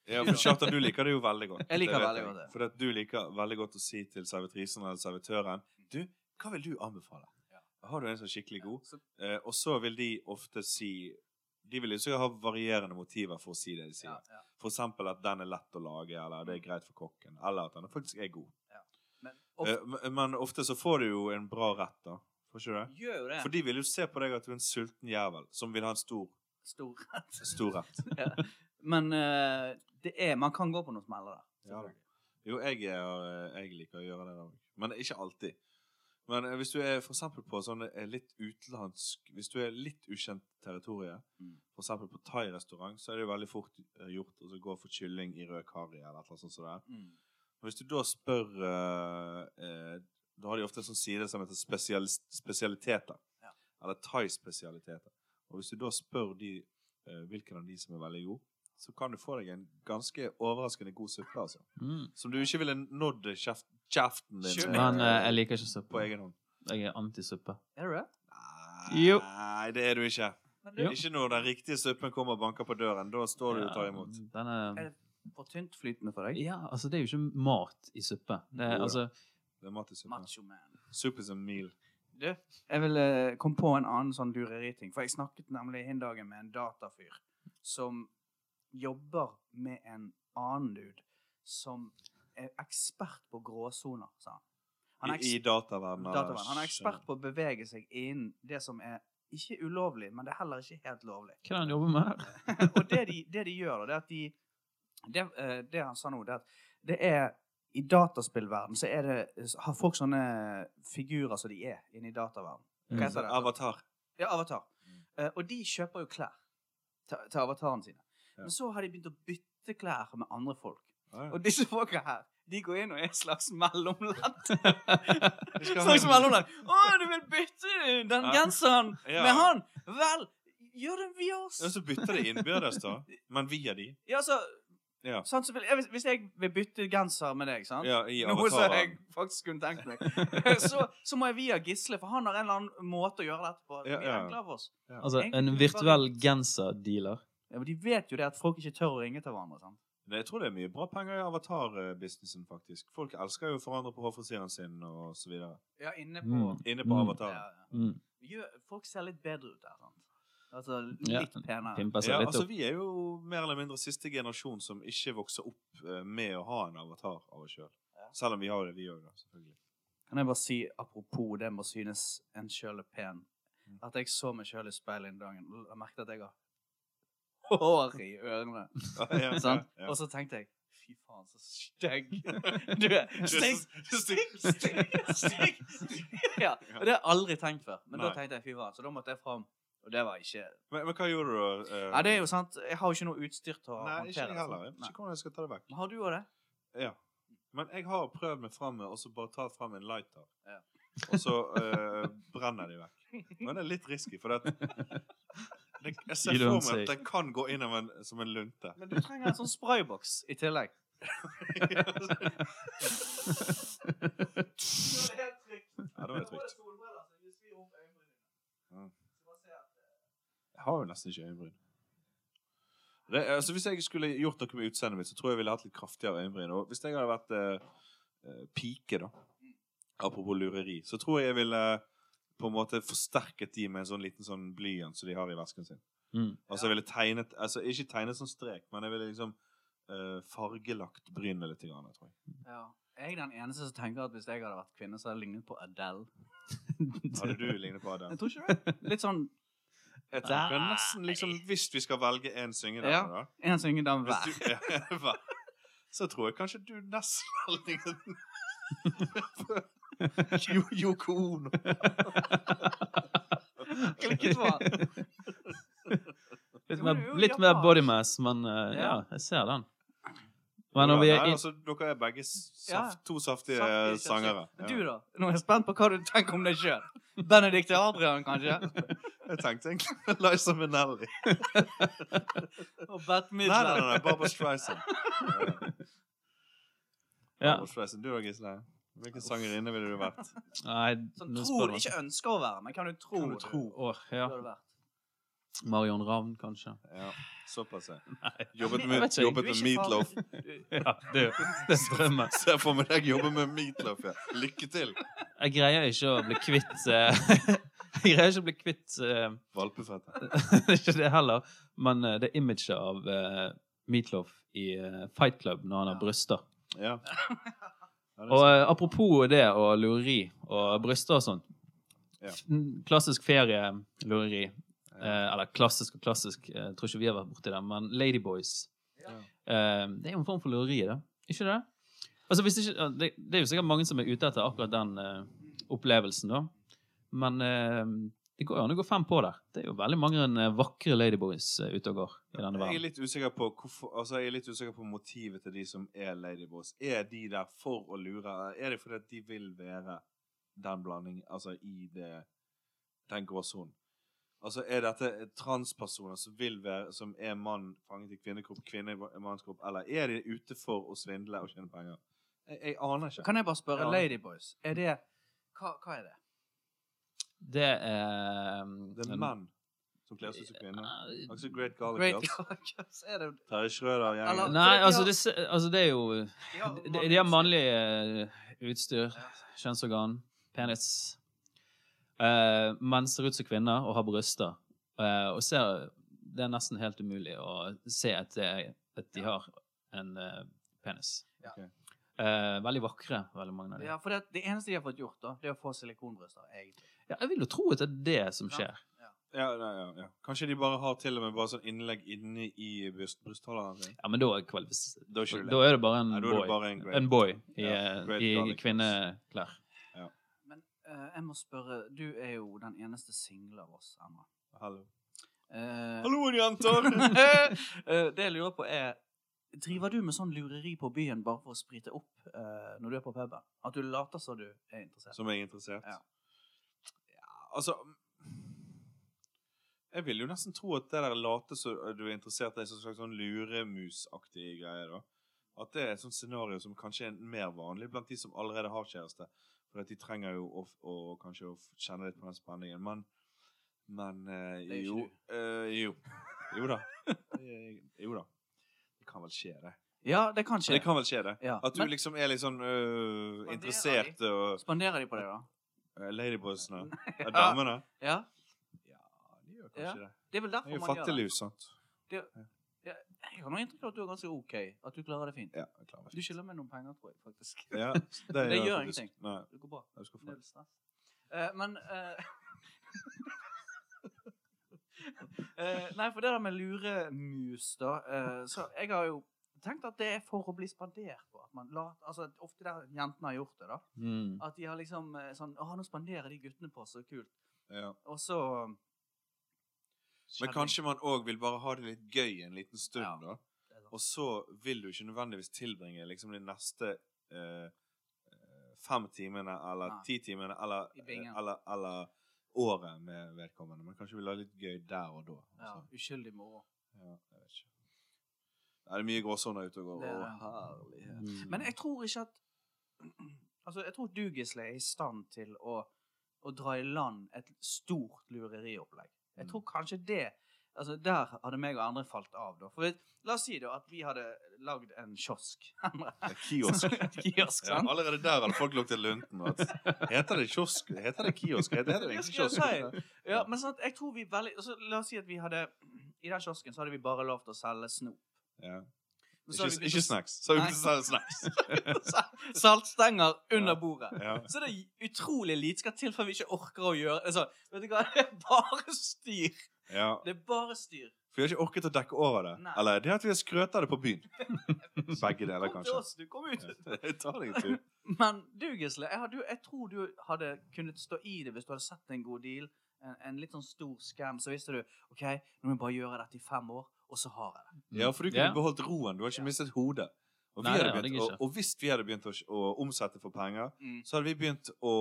[SPEAKER 3] Ja, for Kjartan, du liker det jo veldig godt.
[SPEAKER 1] Jeg liker
[SPEAKER 3] vet
[SPEAKER 1] veldig godt det.
[SPEAKER 3] For at du liker veldig godt å si til servitrisen eller servitøren Du, hva vil du anbefale? Har du en som er skikkelig god?
[SPEAKER 1] Så-
[SPEAKER 3] Eh, og så vil de ofte si De vil jo sikkert ha varierende motiver for å si det de sier.
[SPEAKER 1] Ja, ja.
[SPEAKER 3] For eksempel at den er lett å lage, eller det er greit for kokken, eller at den faktisk er god.
[SPEAKER 1] Men ofte
[SPEAKER 3] Eh, men- men ofte så får du jo en bra rett, da. Får ikke du det?
[SPEAKER 1] gjør jo det.
[SPEAKER 3] For de vil jo se på deg at du er en sulten jævel som vil ha en stor,
[SPEAKER 1] Stor.
[SPEAKER 3] stor rett.
[SPEAKER 1] Men eh, det er, man kan gå på noen smeller der.
[SPEAKER 3] Ja da. Jo, jeg, er, eh, jeg liker å gjøre det, da òg. Men ikke alltid. Men eh, hvis du er for eksempel på sånn eh, litt utenlandsk Hvis du er litt ukjent territorie,
[SPEAKER 1] Mm.
[SPEAKER 3] for eksempel på thai-restaurant, så er det jo veldig fort eh, gjort å så gå for kylling i rød karri eller noe sånt som det. er.
[SPEAKER 1] Mm.
[SPEAKER 3] Og Hvis du da spør eh, eh, Da har de ofte en sånn side som heter spesialis- spesialiteter.
[SPEAKER 1] Ja.
[SPEAKER 3] Eller thai-spesialiteter. Og hvis du da spør de eh, hvilken av de som er veldig god, så kan du få deg en ganske overraskende god suppe, altså.
[SPEAKER 2] Mm.
[SPEAKER 3] Som du ikke ville nådd kjeft, kjeften din
[SPEAKER 1] Sure.
[SPEAKER 3] med
[SPEAKER 2] Men eh, jeg liker ikke
[SPEAKER 3] på
[SPEAKER 2] suppe.
[SPEAKER 3] egen hånd.
[SPEAKER 2] Jeg er antisuppe.
[SPEAKER 1] Er det det?
[SPEAKER 2] Jo.
[SPEAKER 3] Nei, det er du ikke.
[SPEAKER 1] Men
[SPEAKER 2] Jo.
[SPEAKER 1] det,
[SPEAKER 3] Ikke når den riktige suppen kommer og banker på døren. Da står du og tar imot.
[SPEAKER 2] Ja, Den
[SPEAKER 1] Er
[SPEAKER 2] er,
[SPEAKER 1] det for tynt flytende for deg?
[SPEAKER 2] ja, altså, det er jo ikke mat i suppe. Det
[SPEAKER 3] Jo
[SPEAKER 2] er,
[SPEAKER 3] da.
[SPEAKER 2] altså,
[SPEAKER 3] Det er mat i suppen.
[SPEAKER 1] Macho man.
[SPEAKER 3] Suppe is a meal.
[SPEAKER 1] Du, jeg vil eh, komme på en annen sånn lureriting. For jeg snakket nemlig hin dagen med en datafyr som jobber med en annen dude som er ekspert på gråsoner, sa han. Han er,
[SPEAKER 3] I, i
[SPEAKER 1] eks
[SPEAKER 3] dataverdenen.
[SPEAKER 1] dataverden. han er ekspert på å bevege seg innen det som er ikke ulovlig, men det er heller ikke helt lovlig.
[SPEAKER 2] hva er det han jobber med her?
[SPEAKER 1] Og det de, det de gjør, da, det er at de Det, eh, det han sa nå, det er at det er i dataspillverden så er det, har folk sånne figurer som de er inne i dataverden.
[SPEAKER 3] Mm.
[SPEAKER 1] Hva heter det?
[SPEAKER 3] Avatar.
[SPEAKER 1] Ja, Avatar.
[SPEAKER 3] Mm.
[SPEAKER 1] Eh, og de kjøper jo klær til, til avataren sine.
[SPEAKER 3] Ja.
[SPEAKER 1] Men så har de begynt å bytte klær med andre folk.
[SPEAKER 3] Ja, ja.
[SPEAKER 1] Og disse folka her, de går inn og er et slags mellomledd.
[SPEAKER 3] Vi skal ha-
[SPEAKER 1] slags mellomledd. 'Å, du vil bytte den
[SPEAKER 3] Ja.
[SPEAKER 1] genseren
[SPEAKER 3] Ja.
[SPEAKER 1] med han?' Vel, gjør det via oss.
[SPEAKER 3] Ja, så bytter de innbyrdes, da. Men via de.
[SPEAKER 1] Ja, altså
[SPEAKER 3] Ja.
[SPEAKER 1] Sant, så vil, jeg, hvis- hvis jeg vil bytte genser med deg, sant?
[SPEAKER 3] Ja, i
[SPEAKER 1] Noe som jeg
[SPEAKER 3] avataren.
[SPEAKER 1] faktisk kunne tenkt meg. så, så må jeg via Gisle, for han har en eller annen måte å gjøre dette på.
[SPEAKER 3] Ja,
[SPEAKER 1] Mye
[SPEAKER 3] ja.
[SPEAKER 1] enklere for oss.
[SPEAKER 2] Altså,
[SPEAKER 1] Egentlig
[SPEAKER 2] en
[SPEAKER 1] bare-
[SPEAKER 2] virtuell genserdealer.
[SPEAKER 1] Ja, men de vet jo det at folk ikke tør å ringe til hverandre. sant?
[SPEAKER 3] Nei, Jeg tror det er mye bra penger i avatar-businessen, faktisk. Folk elsker jo å forandre på hårfrisyren sin og så videre.
[SPEAKER 1] Ja, inne på...
[SPEAKER 2] Mm.
[SPEAKER 3] Inne på
[SPEAKER 2] Mm.
[SPEAKER 1] Ja,
[SPEAKER 3] avataren.
[SPEAKER 1] ja.
[SPEAKER 2] Mm.
[SPEAKER 1] Gjør, folk ser litt bedre ut der, sant? Altså,
[SPEAKER 2] Ja,
[SPEAKER 1] litt penere.
[SPEAKER 2] Pimper seg
[SPEAKER 3] Ja,
[SPEAKER 2] litt
[SPEAKER 3] altså
[SPEAKER 2] opp.
[SPEAKER 3] Vi er jo mer eller mindre siste generasjon som ikke vokser opp eh, med å ha en avatar av oss sjøl.
[SPEAKER 1] Ja.
[SPEAKER 3] Selv om vi har det, vi òg, da. Selvfølgelig.
[SPEAKER 1] Kan jeg bare si, apropos det med å synes en sjøl er pen, at jeg så meg sjøl i speilet en dag og merket at jeg har hår i ørene.
[SPEAKER 3] Ja, ja,
[SPEAKER 1] Sant?
[SPEAKER 3] ja.
[SPEAKER 1] Og så tenkte jeg Fy faen, så stygg. Du er stygg, stygg, stygg, stygg. Ja, og det har jeg aldri tenkt før. Men da
[SPEAKER 3] Nei.
[SPEAKER 1] tenkte jeg fy faen, så da måtte jeg fram. Og det var ikke Nei,
[SPEAKER 3] Men, men hva gjorde du, da? eh,
[SPEAKER 1] det er jo sant. Jeg har jo ikke noe utstyr til å
[SPEAKER 3] Nei, ikke
[SPEAKER 1] håndtere
[SPEAKER 3] jeg
[SPEAKER 1] det. sånn.
[SPEAKER 3] heller. Jeg vet
[SPEAKER 1] Nei.
[SPEAKER 3] ikke hvordan jeg skal ta det vekk.
[SPEAKER 1] Men Har du òg det?
[SPEAKER 3] Ja. Men jeg har prøvd meg fram med og så bare ta fram en lighter.
[SPEAKER 1] Ja.
[SPEAKER 3] Og så eh, brenner de vekk. Men det er litt risky, for det, at- det, jeg ser
[SPEAKER 2] You don't
[SPEAKER 3] for meg
[SPEAKER 2] say.
[SPEAKER 3] at den kan gå inn av en, som en lunte.
[SPEAKER 1] Men du trenger en sånn sprayboks i tillegg.
[SPEAKER 3] ja, det var jo trygt. Mm. Jeg har jo nesten ikke øyenbryn. Det, altså, hvis jeg skulle gjort noe med utseendet mitt, så tror jeg jeg ville hatt litt kraftigere øyenbryn. Og hvis jeg hadde vært eh, eh, pike, da, apropos lureri, så tror jeg jeg ville eh, på en måte forsterket de med en sånn liten sånn blyant som de har i vesken sin.
[SPEAKER 2] Mm.
[SPEAKER 3] Altså, jeg ville tegnet, altså ikke tegnet sånn strek, men jeg ville liksom eh, fargelagt brynene litt, grann, jeg tror jeg.
[SPEAKER 1] Ja. Jeg er den eneste som tenker at hvis jeg hadde vært kvinne, så hadde jeg lignet på Adele.
[SPEAKER 3] Hadde du lignet på det?
[SPEAKER 1] Jeg tror ikke det. Litt sånn
[SPEAKER 3] Jeg tenker nesten liksom, hvis vi skal velge en syngedame,
[SPEAKER 1] Ja.
[SPEAKER 3] da.
[SPEAKER 1] en syngedame
[SPEAKER 3] Hvis
[SPEAKER 1] hver.
[SPEAKER 3] du- ja, hva? Så tror jeg kanskje du nesten har lignet Jo- Yoko Ono.
[SPEAKER 1] Klikket på den.
[SPEAKER 2] Litt
[SPEAKER 1] Jo,
[SPEAKER 2] mer,
[SPEAKER 1] det er jo
[SPEAKER 2] litt mer
[SPEAKER 1] japansk.
[SPEAKER 2] body mass, men eh, ja, jeg ser den. Men når vi er
[SPEAKER 3] Nei,
[SPEAKER 2] i
[SPEAKER 3] altså, dere er begge
[SPEAKER 1] Ja.
[SPEAKER 3] saft, to saftige
[SPEAKER 1] Saftige
[SPEAKER 3] sangere.
[SPEAKER 1] Men
[SPEAKER 3] Ja.
[SPEAKER 1] Du, da? Nå er jeg spent på hva du tenker om deg sjøl. Benedicte Adrian, kanskje?
[SPEAKER 3] Jeg tenkte egentlig på Liza Minnelli.
[SPEAKER 1] Og Bette
[SPEAKER 3] Nei, nei, nei,
[SPEAKER 1] Midler?
[SPEAKER 3] nei Barbra Streisand. Ja.
[SPEAKER 2] ja.
[SPEAKER 3] Barbra Streisand. Du da, Gisle? Hvilken sangerinne ville du vært?
[SPEAKER 2] Nei,
[SPEAKER 1] Sånn
[SPEAKER 2] nå
[SPEAKER 1] tror
[SPEAKER 2] spør
[SPEAKER 1] du
[SPEAKER 2] du meg.
[SPEAKER 1] ikke ønsker å være, men kan du tro
[SPEAKER 3] Kan du tro?
[SPEAKER 2] Åh,
[SPEAKER 1] du
[SPEAKER 2] ja.
[SPEAKER 1] hadde vært?
[SPEAKER 2] Marion Ravn, kanskje.
[SPEAKER 3] Ja, såpass, ja.
[SPEAKER 2] Nei.
[SPEAKER 3] Jobbet
[SPEAKER 1] Jeg
[SPEAKER 3] med,
[SPEAKER 2] vet ikke,
[SPEAKER 3] jobbet
[SPEAKER 1] Du
[SPEAKER 3] med
[SPEAKER 1] er ikke
[SPEAKER 3] Meatloaf.
[SPEAKER 1] farlig. Du-
[SPEAKER 2] Ja, det er jo det er drømmen.
[SPEAKER 3] Ser for meg deg jobbe med Meatloaf, ja. Lykke til.
[SPEAKER 2] Jeg greier ikke å bli kvitt eh, Jeg greier ikke å bli kvitt eh,
[SPEAKER 3] Valpefette.
[SPEAKER 2] Det er ikke det heller, men eh, det imaget av eh, Meatloaf i eh, Fight Club når han har
[SPEAKER 1] Ja.
[SPEAKER 2] bryster.
[SPEAKER 3] Ja. Ja, det er
[SPEAKER 2] Og eh, apropos det og lureri og bryster og sånn.
[SPEAKER 3] Ja.
[SPEAKER 2] N- Klassisk ferielureri.
[SPEAKER 3] sant.
[SPEAKER 2] Eh, eller klassisk og klassisk, eh, jeg tror ikke vi har vært borti det, men Ladyboys.
[SPEAKER 1] Ja.
[SPEAKER 2] Eh, det er jo en form for lureri, da. Ikke det? Altså, hvis ikke, eh, det, det er jo sikkert mange som er ute etter akkurat den eh, opplevelsen, da. Men eh, det går jo an å gå fem på der. Det er jo veldig mange eh, vakre Ladyboys eh, ute og går i denne
[SPEAKER 3] Jeg er
[SPEAKER 2] verden.
[SPEAKER 3] litt usikker på hvorfor, altså jeg er litt usikker på motivet til de som er ladyboys. Er de der for å lure? Er det fordi at de vil være den blandingen, altså i det, den gråsonen? Altså er dette transpersoner som vil være, som er mann fanget i kvinnekropp, kvinne i mannskropp, eller er de ute for å svindle og tjene penger? Jeg, jeg aner ikke.
[SPEAKER 1] Kan jeg bare
[SPEAKER 3] Ja.
[SPEAKER 1] spørre, Ladyboys, er det hva, hva er det?
[SPEAKER 2] Det er eh,
[SPEAKER 3] Det er
[SPEAKER 2] en-
[SPEAKER 3] menn som kler seg som kvinner.
[SPEAKER 2] Eh,
[SPEAKER 3] Altså Great Garlic
[SPEAKER 1] Great
[SPEAKER 3] Girls.
[SPEAKER 1] Caucus, er det
[SPEAKER 3] Terje Schrøder,
[SPEAKER 1] Eller-
[SPEAKER 3] gjengen.
[SPEAKER 2] Nei,
[SPEAKER 1] de
[SPEAKER 2] altså
[SPEAKER 1] har-
[SPEAKER 2] det, ser- altså det er jo De, de har mannlig eh, utstyr, kjønnsorgan, penis. Eh, menn ser ut som kvinner og har bryster. Eh, og ser, det er nesten helt umulig å se at, det er, at de har en eh, penis.
[SPEAKER 1] Ja.
[SPEAKER 3] Ok.
[SPEAKER 2] Eh, veldig vakre, veldig mange av dem.
[SPEAKER 1] Ja, for det, det eneste de har fått gjort, da, det er å få silikonbryster, egentlig.
[SPEAKER 2] Ja, jeg vil jo tro at det er det som skjer.
[SPEAKER 3] Ja, ja, ja, ja. Kanskje de bare har til og med bare sånn innlegg inni i bryst, brystholderen sin.
[SPEAKER 2] Ja, men da er, kvalifis-
[SPEAKER 3] Da er ikke det
[SPEAKER 2] da er det bare en
[SPEAKER 3] Nei, da er det
[SPEAKER 2] boy.
[SPEAKER 3] bare en great.
[SPEAKER 2] En boy i,
[SPEAKER 3] Ja,
[SPEAKER 2] eh,
[SPEAKER 3] great
[SPEAKER 2] i,
[SPEAKER 3] garlic.
[SPEAKER 2] i kvinneklær.
[SPEAKER 1] Men eh, jeg må spørre, du er jo den eneste single av oss, Emma.
[SPEAKER 3] Hallo.
[SPEAKER 1] Eh,
[SPEAKER 3] Hallo, jenter!
[SPEAKER 1] Eh, det jeg lurer på er Driver du med sånn lureri på byen bare for å sprite opp eh, når du er på puben? At du later som du er interessert?
[SPEAKER 3] Som er interessert.
[SPEAKER 1] Ja.
[SPEAKER 3] Ja, altså Jeg vil jo nesten tro at det der late som du er interessert i, er en slags sånn luremusaktig greie. da. At det er et sånt scenario som kanskje er mer vanlig blant de som allerede har kjæreste. For at de trenger jo å, f- å kanskje å f- kjenne litt på den spenningen. Men, men eh,
[SPEAKER 1] Det er jo
[SPEAKER 3] jo,
[SPEAKER 1] ikke
[SPEAKER 3] eh, jo. Jo da. Eh, Jo da. Det kan vel skje, det.
[SPEAKER 1] Ja, det kan skje.
[SPEAKER 3] Det kan vel skje, det.
[SPEAKER 1] Ja.
[SPEAKER 3] At du
[SPEAKER 1] Men-
[SPEAKER 3] liksom er litt sånn øh,
[SPEAKER 1] Spanderer
[SPEAKER 3] interessert og
[SPEAKER 1] Spanderer de på det, da?
[SPEAKER 3] uh, Ladyboysene. Ja. Damene.
[SPEAKER 1] Ja.
[SPEAKER 3] Ja, de gjør
[SPEAKER 1] Ja.
[SPEAKER 3] kanskje det.
[SPEAKER 1] Det er vel
[SPEAKER 3] Det er
[SPEAKER 1] derfor
[SPEAKER 3] jo
[SPEAKER 1] man gjør det.
[SPEAKER 3] fattiglus, sant.
[SPEAKER 1] Jeg har noe inntrykk av at du er ganske OK. At du klarer det fint.
[SPEAKER 3] Ja, jeg klarer
[SPEAKER 1] Du skylder meg noen penger, tror jeg, faktisk.
[SPEAKER 3] Ja,
[SPEAKER 1] det
[SPEAKER 3] jeg
[SPEAKER 1] gjør
[SPEAKER 3] faktisk.
[SPEAKER 1] ingenting.
[SPEAKER 3] Nei,
[SPEAKER 1] Det går bra.
[SPEAKER 3] jeg skal få.
[SPEAKER 1] Null stress. Eh, men eh, eh, Nei, for det der med luremus, da eh, Så jeg har jo tenkt at det er for å bli spandert på. At man la, altså, ofte der jentene har gjort det, da.
[SPEAKER 2] Mm.
[SPEAKER 1] At de har liksom eh, sånn Å, nå spanderer de guttene på oss, så kult.
[SPEAKER 3] Ja.
[SPEAKER 1] Og så
[SPEAKER 3] Men kanskje man òg vil bare ha det litt gøy en liten stund,
[SPEAKER 1] Ja.
[SPEAKER 3] da. Og så vil du ikke nødvendigvis tilbringe liksom de neste eh, eh, fem timene eller
[SPEAKER 1] Nei.
[SPEAKER 3] ti timene eller, eh,
[SPEAKER 1] I bingen.
[SPEAKER 3] eller, eller året med vedkommende. Men kanskje vil ha litt gøy der og da.
[SPEAKER 1] ja,
[SPEAKER 3] altså.
[SPEAKER 1] Uskyldig moro.
[SPEAKER 3] Ja, jeg vet ikke. Nei, det er mye gråsoner ute og går.
[SPEAKER 1] Det
[SPEAKER 3] Å,
[SPEAKER 1] er det.
[SPEAKER 3] herlighet.
[SPEAKER 2] Mm.
[SPEAKER 1] Men jeg tror ikke at Altså, jeg tror du, Gisle, er i stand til å, å dra i land et stort lureriopplegg. Jeg
[SPEAKER 3] Mm.
[SPEAKER 1] tror kanskje det Altså, der hadde meg og andre falt av, da. For vi- la oss si da at vi hadde lagd en kiosk.
[SPEAKER 3] Det er Kiosk.
[SPEAKER 1] kiosk,
[SPEAKER 3] Ja,
[SPEAKER 1] sant?
[SPEAKER 3] allerede der hadde folk lagt til lunten. vet du. Heter det kiosk? Heter det kiosk? Heter det
[SPEAKER 1] Det
[SPEAKER 3] egentlig
[SPEAKER 1] skulle jeg
[SPEAKER 3] kiosk?
[SPEAKER 1] si. Ja, men sånn at jeg tror vi veldig altså, La oss si at vi hadde I den kiosken så hadde vi bare lov til å selge snop.
[SPEAKER 3] Ja.
[SPEAKER 1] Men så hadde
[SPEAKER 3] Ikke,
[SPEAKER 1] vi begynt
[SPEAKER 3] ikke
[SPEAKER 1] å-
[SPEAKER 3] snacks. Så vi
[SPEAKER 1] Nei.
[SPEAKER 3] sa snacks.
[SPEAKER 1] Saltstenger under
[SPEAKER 3] Ja.
[SPEAKER 1] bordet.
[SPEAKER 3] Ja.
[SPEAKER 1] Så det er utrolig lite skal til før vi ikke orker å gjøre altså, Vet du hva, det er bare styr.
[SPEAKER 3] Ja.
[SPEAKER 1] Det er bare styr.
[SPEAKER 3] For vi har ikke orket å dekke over det.
[SPEAKER 1] Nei.
[SPEAKER 3] Eller det er at vi har skrøt av det på byen. Begge deler,
[SPEAKER 1] Kom til
[SPEAKER 3] kanskje.
[SPEAKER 1] oss, du. Kom ut.
[SPEAKER 3] Ja. Ta deg en tur.
[SPEAKER 1] Men du, Gisle, jeg, hadde, jo- jeg tror du hadde kunnet stå i det hvis du hadde sett en god deal. En, en litt sånn stor scam. Så visste du OK, nå må jeg bare gjøre dette i fem år, og så har jeg det.
[SPEAKER 3] Ja, for du kunne
[SPEAKER 2] Ja.
[SPEAKER 3] beholdt roen. Du har ikke
[SPEAKER 1] Ja.
[SPEAKER 3] mistet hodet. Og, vi
[SPEAKER 2] Nei,
[SPEAKER 3] hadde
[SPEAKER 2] det hadde
[SPEAKER 3] begynt,
[SPEAKER 2] jeg
[SPEAKER 3] å-
[SPEAKER 2] ikke.
[SPEAKER 3] og hvis vi hadde begynt å, å omsette for penger,
[SPEAKER 1] Mm.
[SPEAKER 3] så hadde vi begynt å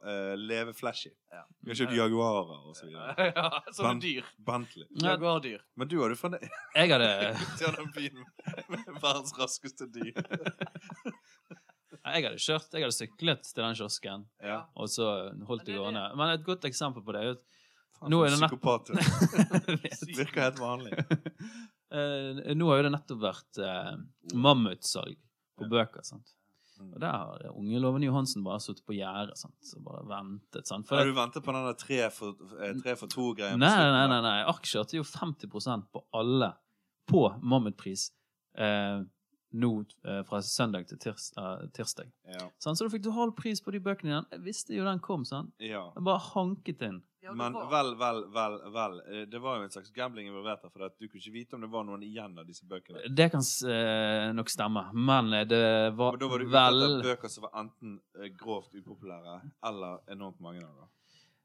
[SPEAKER 3] eh, leve flashy.
[SPEAKER 1] Ja.
[SPEAKER 3] Vi har kjøpt Jaguarer og så videre.
[SPEAKER 1] ja, sånne
[SPEAKER 3] Men-
[SPEAKER 1] dyr.
[SPEAKER 3] Bentley.
[SPEAKER 2] Ja.
[SPEAKER 1] Jaguardyr.
[SPEAKER 3] Men du hadde fremdeles
[SPEAKER 2] Jeg hadde
[SPEAKER 3] gjennom byen med verdens raskeste dyr.
[SPEAKER 2] Jeg hadde kjørt, jeg hadde syklet til den kiosken,
[SPEAKER 3] Ja.
[SPEAKER 2] og så holdt det
[SPEAKER 1] Men det er
[SPEAKER 2] gående. Men et godt eksempel på det er jo
[SPEAKER 3] Faen,
[SPEAKER 2] Nå
[SPEAKER 3] for
[SPEAKER 2] er det nett-
[SPEAKER 3] Psykopat. du.
[SPEAKER 2] at
[SPEAKER 3] Virker helt vanlig.
[SPEAKER 2] Eh, Nå har jo det nettopp vært eh, mammutsalg på
[SPEAKER 3] Mm. Ja.
[SPEAKER 2] bøker, sant.
[SPEAKER 3] Mm.
[SPEAKER 2] Og der har unge Loven Johansen bare sittet på gjerdet, sant, og bare ventet, sant. For
[SPEAKER 3] Har
[SPEAKER 2] det,
[SPEAKER 3] du ventet på den der tre for, eh, tre for
[SPEAKER 2] nei,
[SPEAKER 3] to-greien? på slutten
[SPEAKER 2] nei,
[SPEAKER 3] der?
[SPEAKER 2] nei, nei. Aksjer til jo 50 på alle på mammutpris eh, nå eh, fra søndag til tirs, eh, tirsdag.
[SPEAKER 3] Ja.
[SPEAKER 2] Sant? Så du fikk du halv pris på de bøkene igjen. Jeg visste jo den kom, sant.
[SPEAKER 3] ja.
[SPEAKER 2] Jeg bare hanket inn.
[SPEAKER 1] Ja, det
[SPEAKER 3] Men
[SPEAKER 1] var-
[SPEAKER 3] vel, vel, vel, vel. eh, Det var jo en slags gambling involvert her, for at du kunne ikke vite om det var noen igjen av disse bøkene.
[SPEAKER 2] Det kan s- eh, nok stemme, men eh, det var,
[SPEAKER 3] Men da var det ute
[SPEAKER 2] vel
[SPEAKER 3] etter bøker som var enten eh, grovt upopulære eller enormt mange av dem.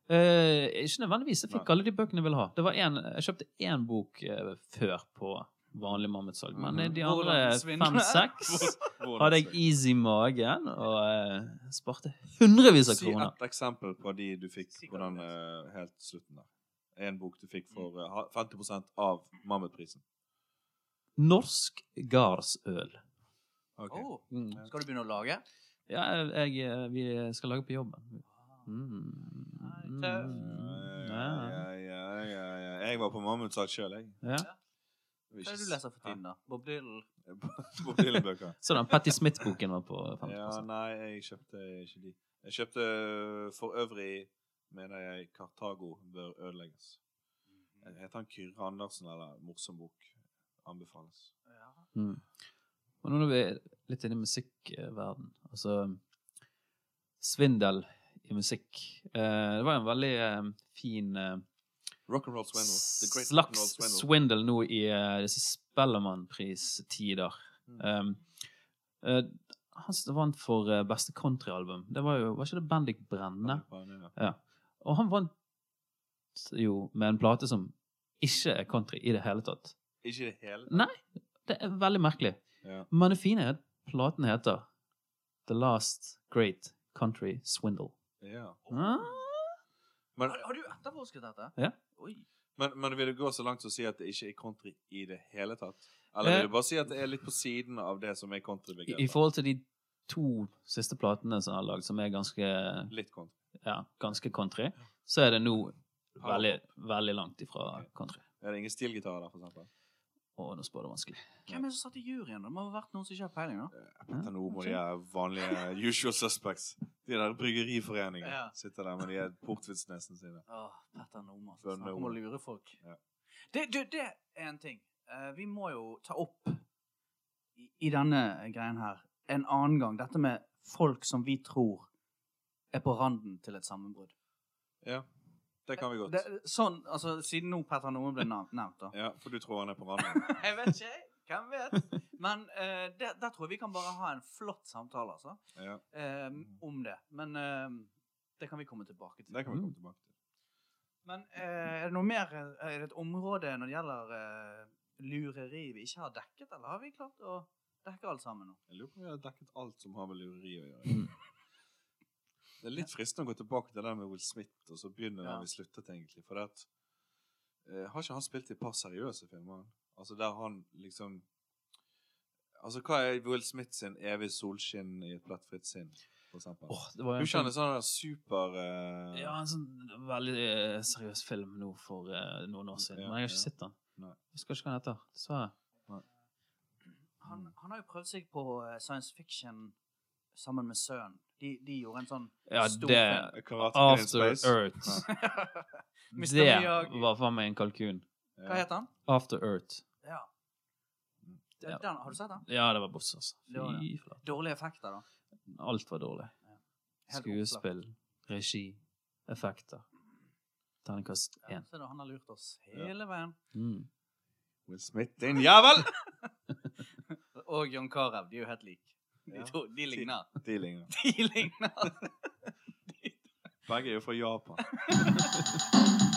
[SPEAKER 2] eh, Ikke nødvendigvis. Jeg fikk
[SPEAKER 3] Nei.
[SPEAKER 2] alle de bøkene jeg ville ha. Det var en, jeg kjøpte én bok eh, før på vanlig mammutsalg, men eh, de
[SPEAKER 1] Mhm.
[SPEAKER 2] andre
[SPEAKER 1] Hvordan svindler?
[SPEAKER 2] fem-seks
[SPEAKER 3] Hvordan
[SPEAKER 2] hadde jeg
[SPEAKER 3] skal-
[SPEAKER 2] is i magen og eh, sparte hundrevis av
[SPEAKER 3] Si
[SPEAKER 2] kroner.
[SPEAKER 3] ett eksempel på de du fikk på
[SPEAKER 1] Sikkert.
[SPEAKER 3] den eh, helt slutten der. En bok du fikk for eh, ha- 50 av Mammutprisen.
[SPEAKER 2] Norsk gardsøl.
[SPEAKER 3] Ok.
[SPEAKER 1] Åh,
[SPEAKER 2] Mm.
[SPEAKER 1] skal du begynne å lage?
[SPEAKER 2] Ja, jeg, eh, vi skal lage på jobben. Mm.
[SPEAKER 1] Nei, tøff.
[SPEAKER 3] Ja,
[SPEAKER 2] Ja.
[SPEAKER 3] ja, ja, ja, ja. Jeg var på mammutsalg sjøl, jeg.
[SPEAKER 2] Ja.
[SPEAKER 3] Det
[SPEAKER 1] Hva
[SPEAKER 3] var
[SPEAKER 1] er
[SPEAKER 3] ikke
[SPEAKER 1] det du leser for tiden, da? Bob Dylan?
[SPEAKER 3] s- Bob Dylan-bøker.
[SPEAKER 2] Så den Sånn, Patti Smith-boken var på 50
[SPEAKER 3] Ja, nei, jeg kjøpte ikke de. Jeg kjøpte eh, for øvrig, mener jeg, 'Kartago bør ødelegges'.
[SPEAKER 1] Mm.
[SPEAKER 3] Heter han Kyrre Andersen eller Morsom bok? Anbefales.
[SPEAKER 1] Ja.
[SPEAKER 2] Mm. Og nå når vi er litt inne i musikkverden, altså svindel i musikk eh, Det var en veldig eh, fin eh,
[SPEAKER 3] Rock'n'roll swindle. The great
[SPEAKER 2] slags
[SPEAKER 3] rock'n'roll swindle.
[SPEAKER 2] swindel nå i eh, disse Spellemannpristider.
[SPEAKER 3] Mm.
[SPEAKER 2] Um, eh, han som vant for eh, beste countryalbum, det var jo Var ikke det Bendik Brenne? Og han vant jo med en plate som ikke er country i det hele tatt.
[SPEAKER 3] Ikke i det hele
[SPEAKER 2] Nei, det er veldig merkelig.
[SPEAKER 3] Ja.
[SPEAKER 2] Men det fine er at platen heter The Last Great Country Swindle.
[SPEAKER 3] Ja.
[SPEAKER 2] Ah,
[SPEAKER 3] Men,
[SPEAKER 1] Har, har du etterforsket dette?
[SPEAKER 2] Ja.
[SPEAKER 1] Oi.
[SPEAKER 3] Men, men vil du gå så langt som å si at det ikke er country i det hele tatt? Eller vil du bare si at det er litt på siden av det som er
[SPEAKER 2] I, I
[SPEAKER 3] countrybegrepet?
[SPEAKER 2] forhold til de to siste platene som er lagd, som er ganske,
[SPEAKER 3] Litt country.
[SPEAKER 2] ja, ganske country, så er det nå veldig, veldig langt ifra
[SPEAKER 3] Ok.
[SPEAKER 2] country.
[SPEAKER 3] Er det ingen stilgitarer der, for eksempel?
[SPEAKER 2] Å, nå spår det vanskelig.
[SPEAKER 1] Hvem er det som satt i juryen? da? Det må ha vært noen som ikke har peiling. da.
[SPEAKER 3] Dette er noe med de her vanlige usual suspects. De der bryggeriforeningene
[SPEAKER 1] Ja.
[SPEAKER 3] sitter der med de her portvitsnesene sine.
[SPEAKER 1] Åh, Petter Nome.
[SPEAKER 3] Bønne
[SPEAKER 1] Han kommer og lurer folk.
[SPEAKER 3] Ja.
[SPEAKER 1] Det, du, det er en ting. Eh, vi må jo ta opp i, i denne greien her en annen gang dette med folk som vi tror er på randen til et sammenbrudd.
[SPEAKER 3] Ja, det kan vi godt.
[SPEAKER 1] Det- Sånn, altså, siden nå Petter Nome ble nav- nevnt, da.
[SPEAKER 3] Ja, for du tror han er på randen.
[SPEAKER 1] Jeg vet ikke, jeg. hvem vet? Men eh, der, der tror jeg vi kan bare ha en flott samtale, altså.
[SPEAKER 3] Ja,
[SPEAKER 1] eh, om det. Men eh, det kan vi komme tilbake til.
[SPEAKER 3] det kan vi komme tilbake til.
[SPEAKER 1] Men eh, er det noe mer eh, Er det et område når det gjelder eh, lureri vi ikke har dekket, eller har vi klart å dekke alt sammen nå?
[SPEAKER 3] Jeg lurer på om vi har dekket alt som har med lureri å
[SPEAKER 2] Mm.
[SPEAKER 3] gjøre. Det er litt fristende å gå tilbake til det der med Will Smith, og så begynne
[SPEAKER 1] Ja.
[SPEAKER 3] der vi sluttet, egentlig. For det at eh, Har ikke han spilt i et par seriøse filmer? Altså, der han liksom Altså, hva er Will Smith sin evig solskinn i et platt fritt sinn, for eksempel?
[SPEAKER 2] Åh, det var
[SPEAKER 3] Du
[SPEAKER 2] en film-
[SPEAKER 3] kjenner sånn der super eh,
[SPEAKER 2] Ja, en sånn veldig eh, seriøs film nå for eh, noen år siden.
[SPEAKER 3] Ja,
[SPEAKER 2] Men jeg har
[SPEAKER 3] ja.
[SPEAKER 2] ikke sett den.
[SPEAKER 3] Nei.
[SPEAKER 2] Jeg husker ikke hva den heter. Dessverre.
[SPEAKER 1] Han, han har jo prøvd seg på eh, science fiction sammen med sønnen. De, de gjorde en sånn
[SPEAKER 2] Ja,
[SPEAKER 1] Stor
[SPEAKER 2] det
[SPEAKER 3] Karate Kid in
[SPEAKER 2] After
[SPEAKER 3] Space.
[SPEAKER 2] Earth.
[SPEAKER 1] Mr.
[SPEAKER 2] Det
[SPEAKER 1] Miyagi.
[SPEAKER 2] var faen meg en kalkun.
[SPEAKER 3] Ja.
[SPEAKER 1] Hva heter han?
[SPEAKER 2] After Earth.
[SPEAKER 1] Ja. Det-
[SPEAKER 2] Ja.
[SPEAKER 1] Den, har du sett den?
[SPEAKER 2] Ja, det var boss, altså.
[SPEAKER 1] Det var det.
[SPEAKER 2] Fy flate.
[SPEAKER 1] Dårlige effekter, da.
[SPEAKER 2] Alt var dårlig.
[SPEAKER 1] Helt opplagt.
[SPEAKER 2] Skuespill, regi, effekter. Terningkast
[SPEAKER 1] Ja,
[SPEAKER 2] én.
[SPEAKER 1] ser du, han har lurt oss hele veien.
[SPEAKER 2] Mm.
[SPEAKER 3] Will Smith, din jævel!
[SPEAKER 1] Og John Carew. De er jo helt like. De,
[SPEAKER 3] Ja.
[SPEAKER 1] to, de ligner.
[SPEAKER 3] De ligner.
[SPEAKER 1] De ligner.
[SPEAKER 3] Begge er jo fra Japan.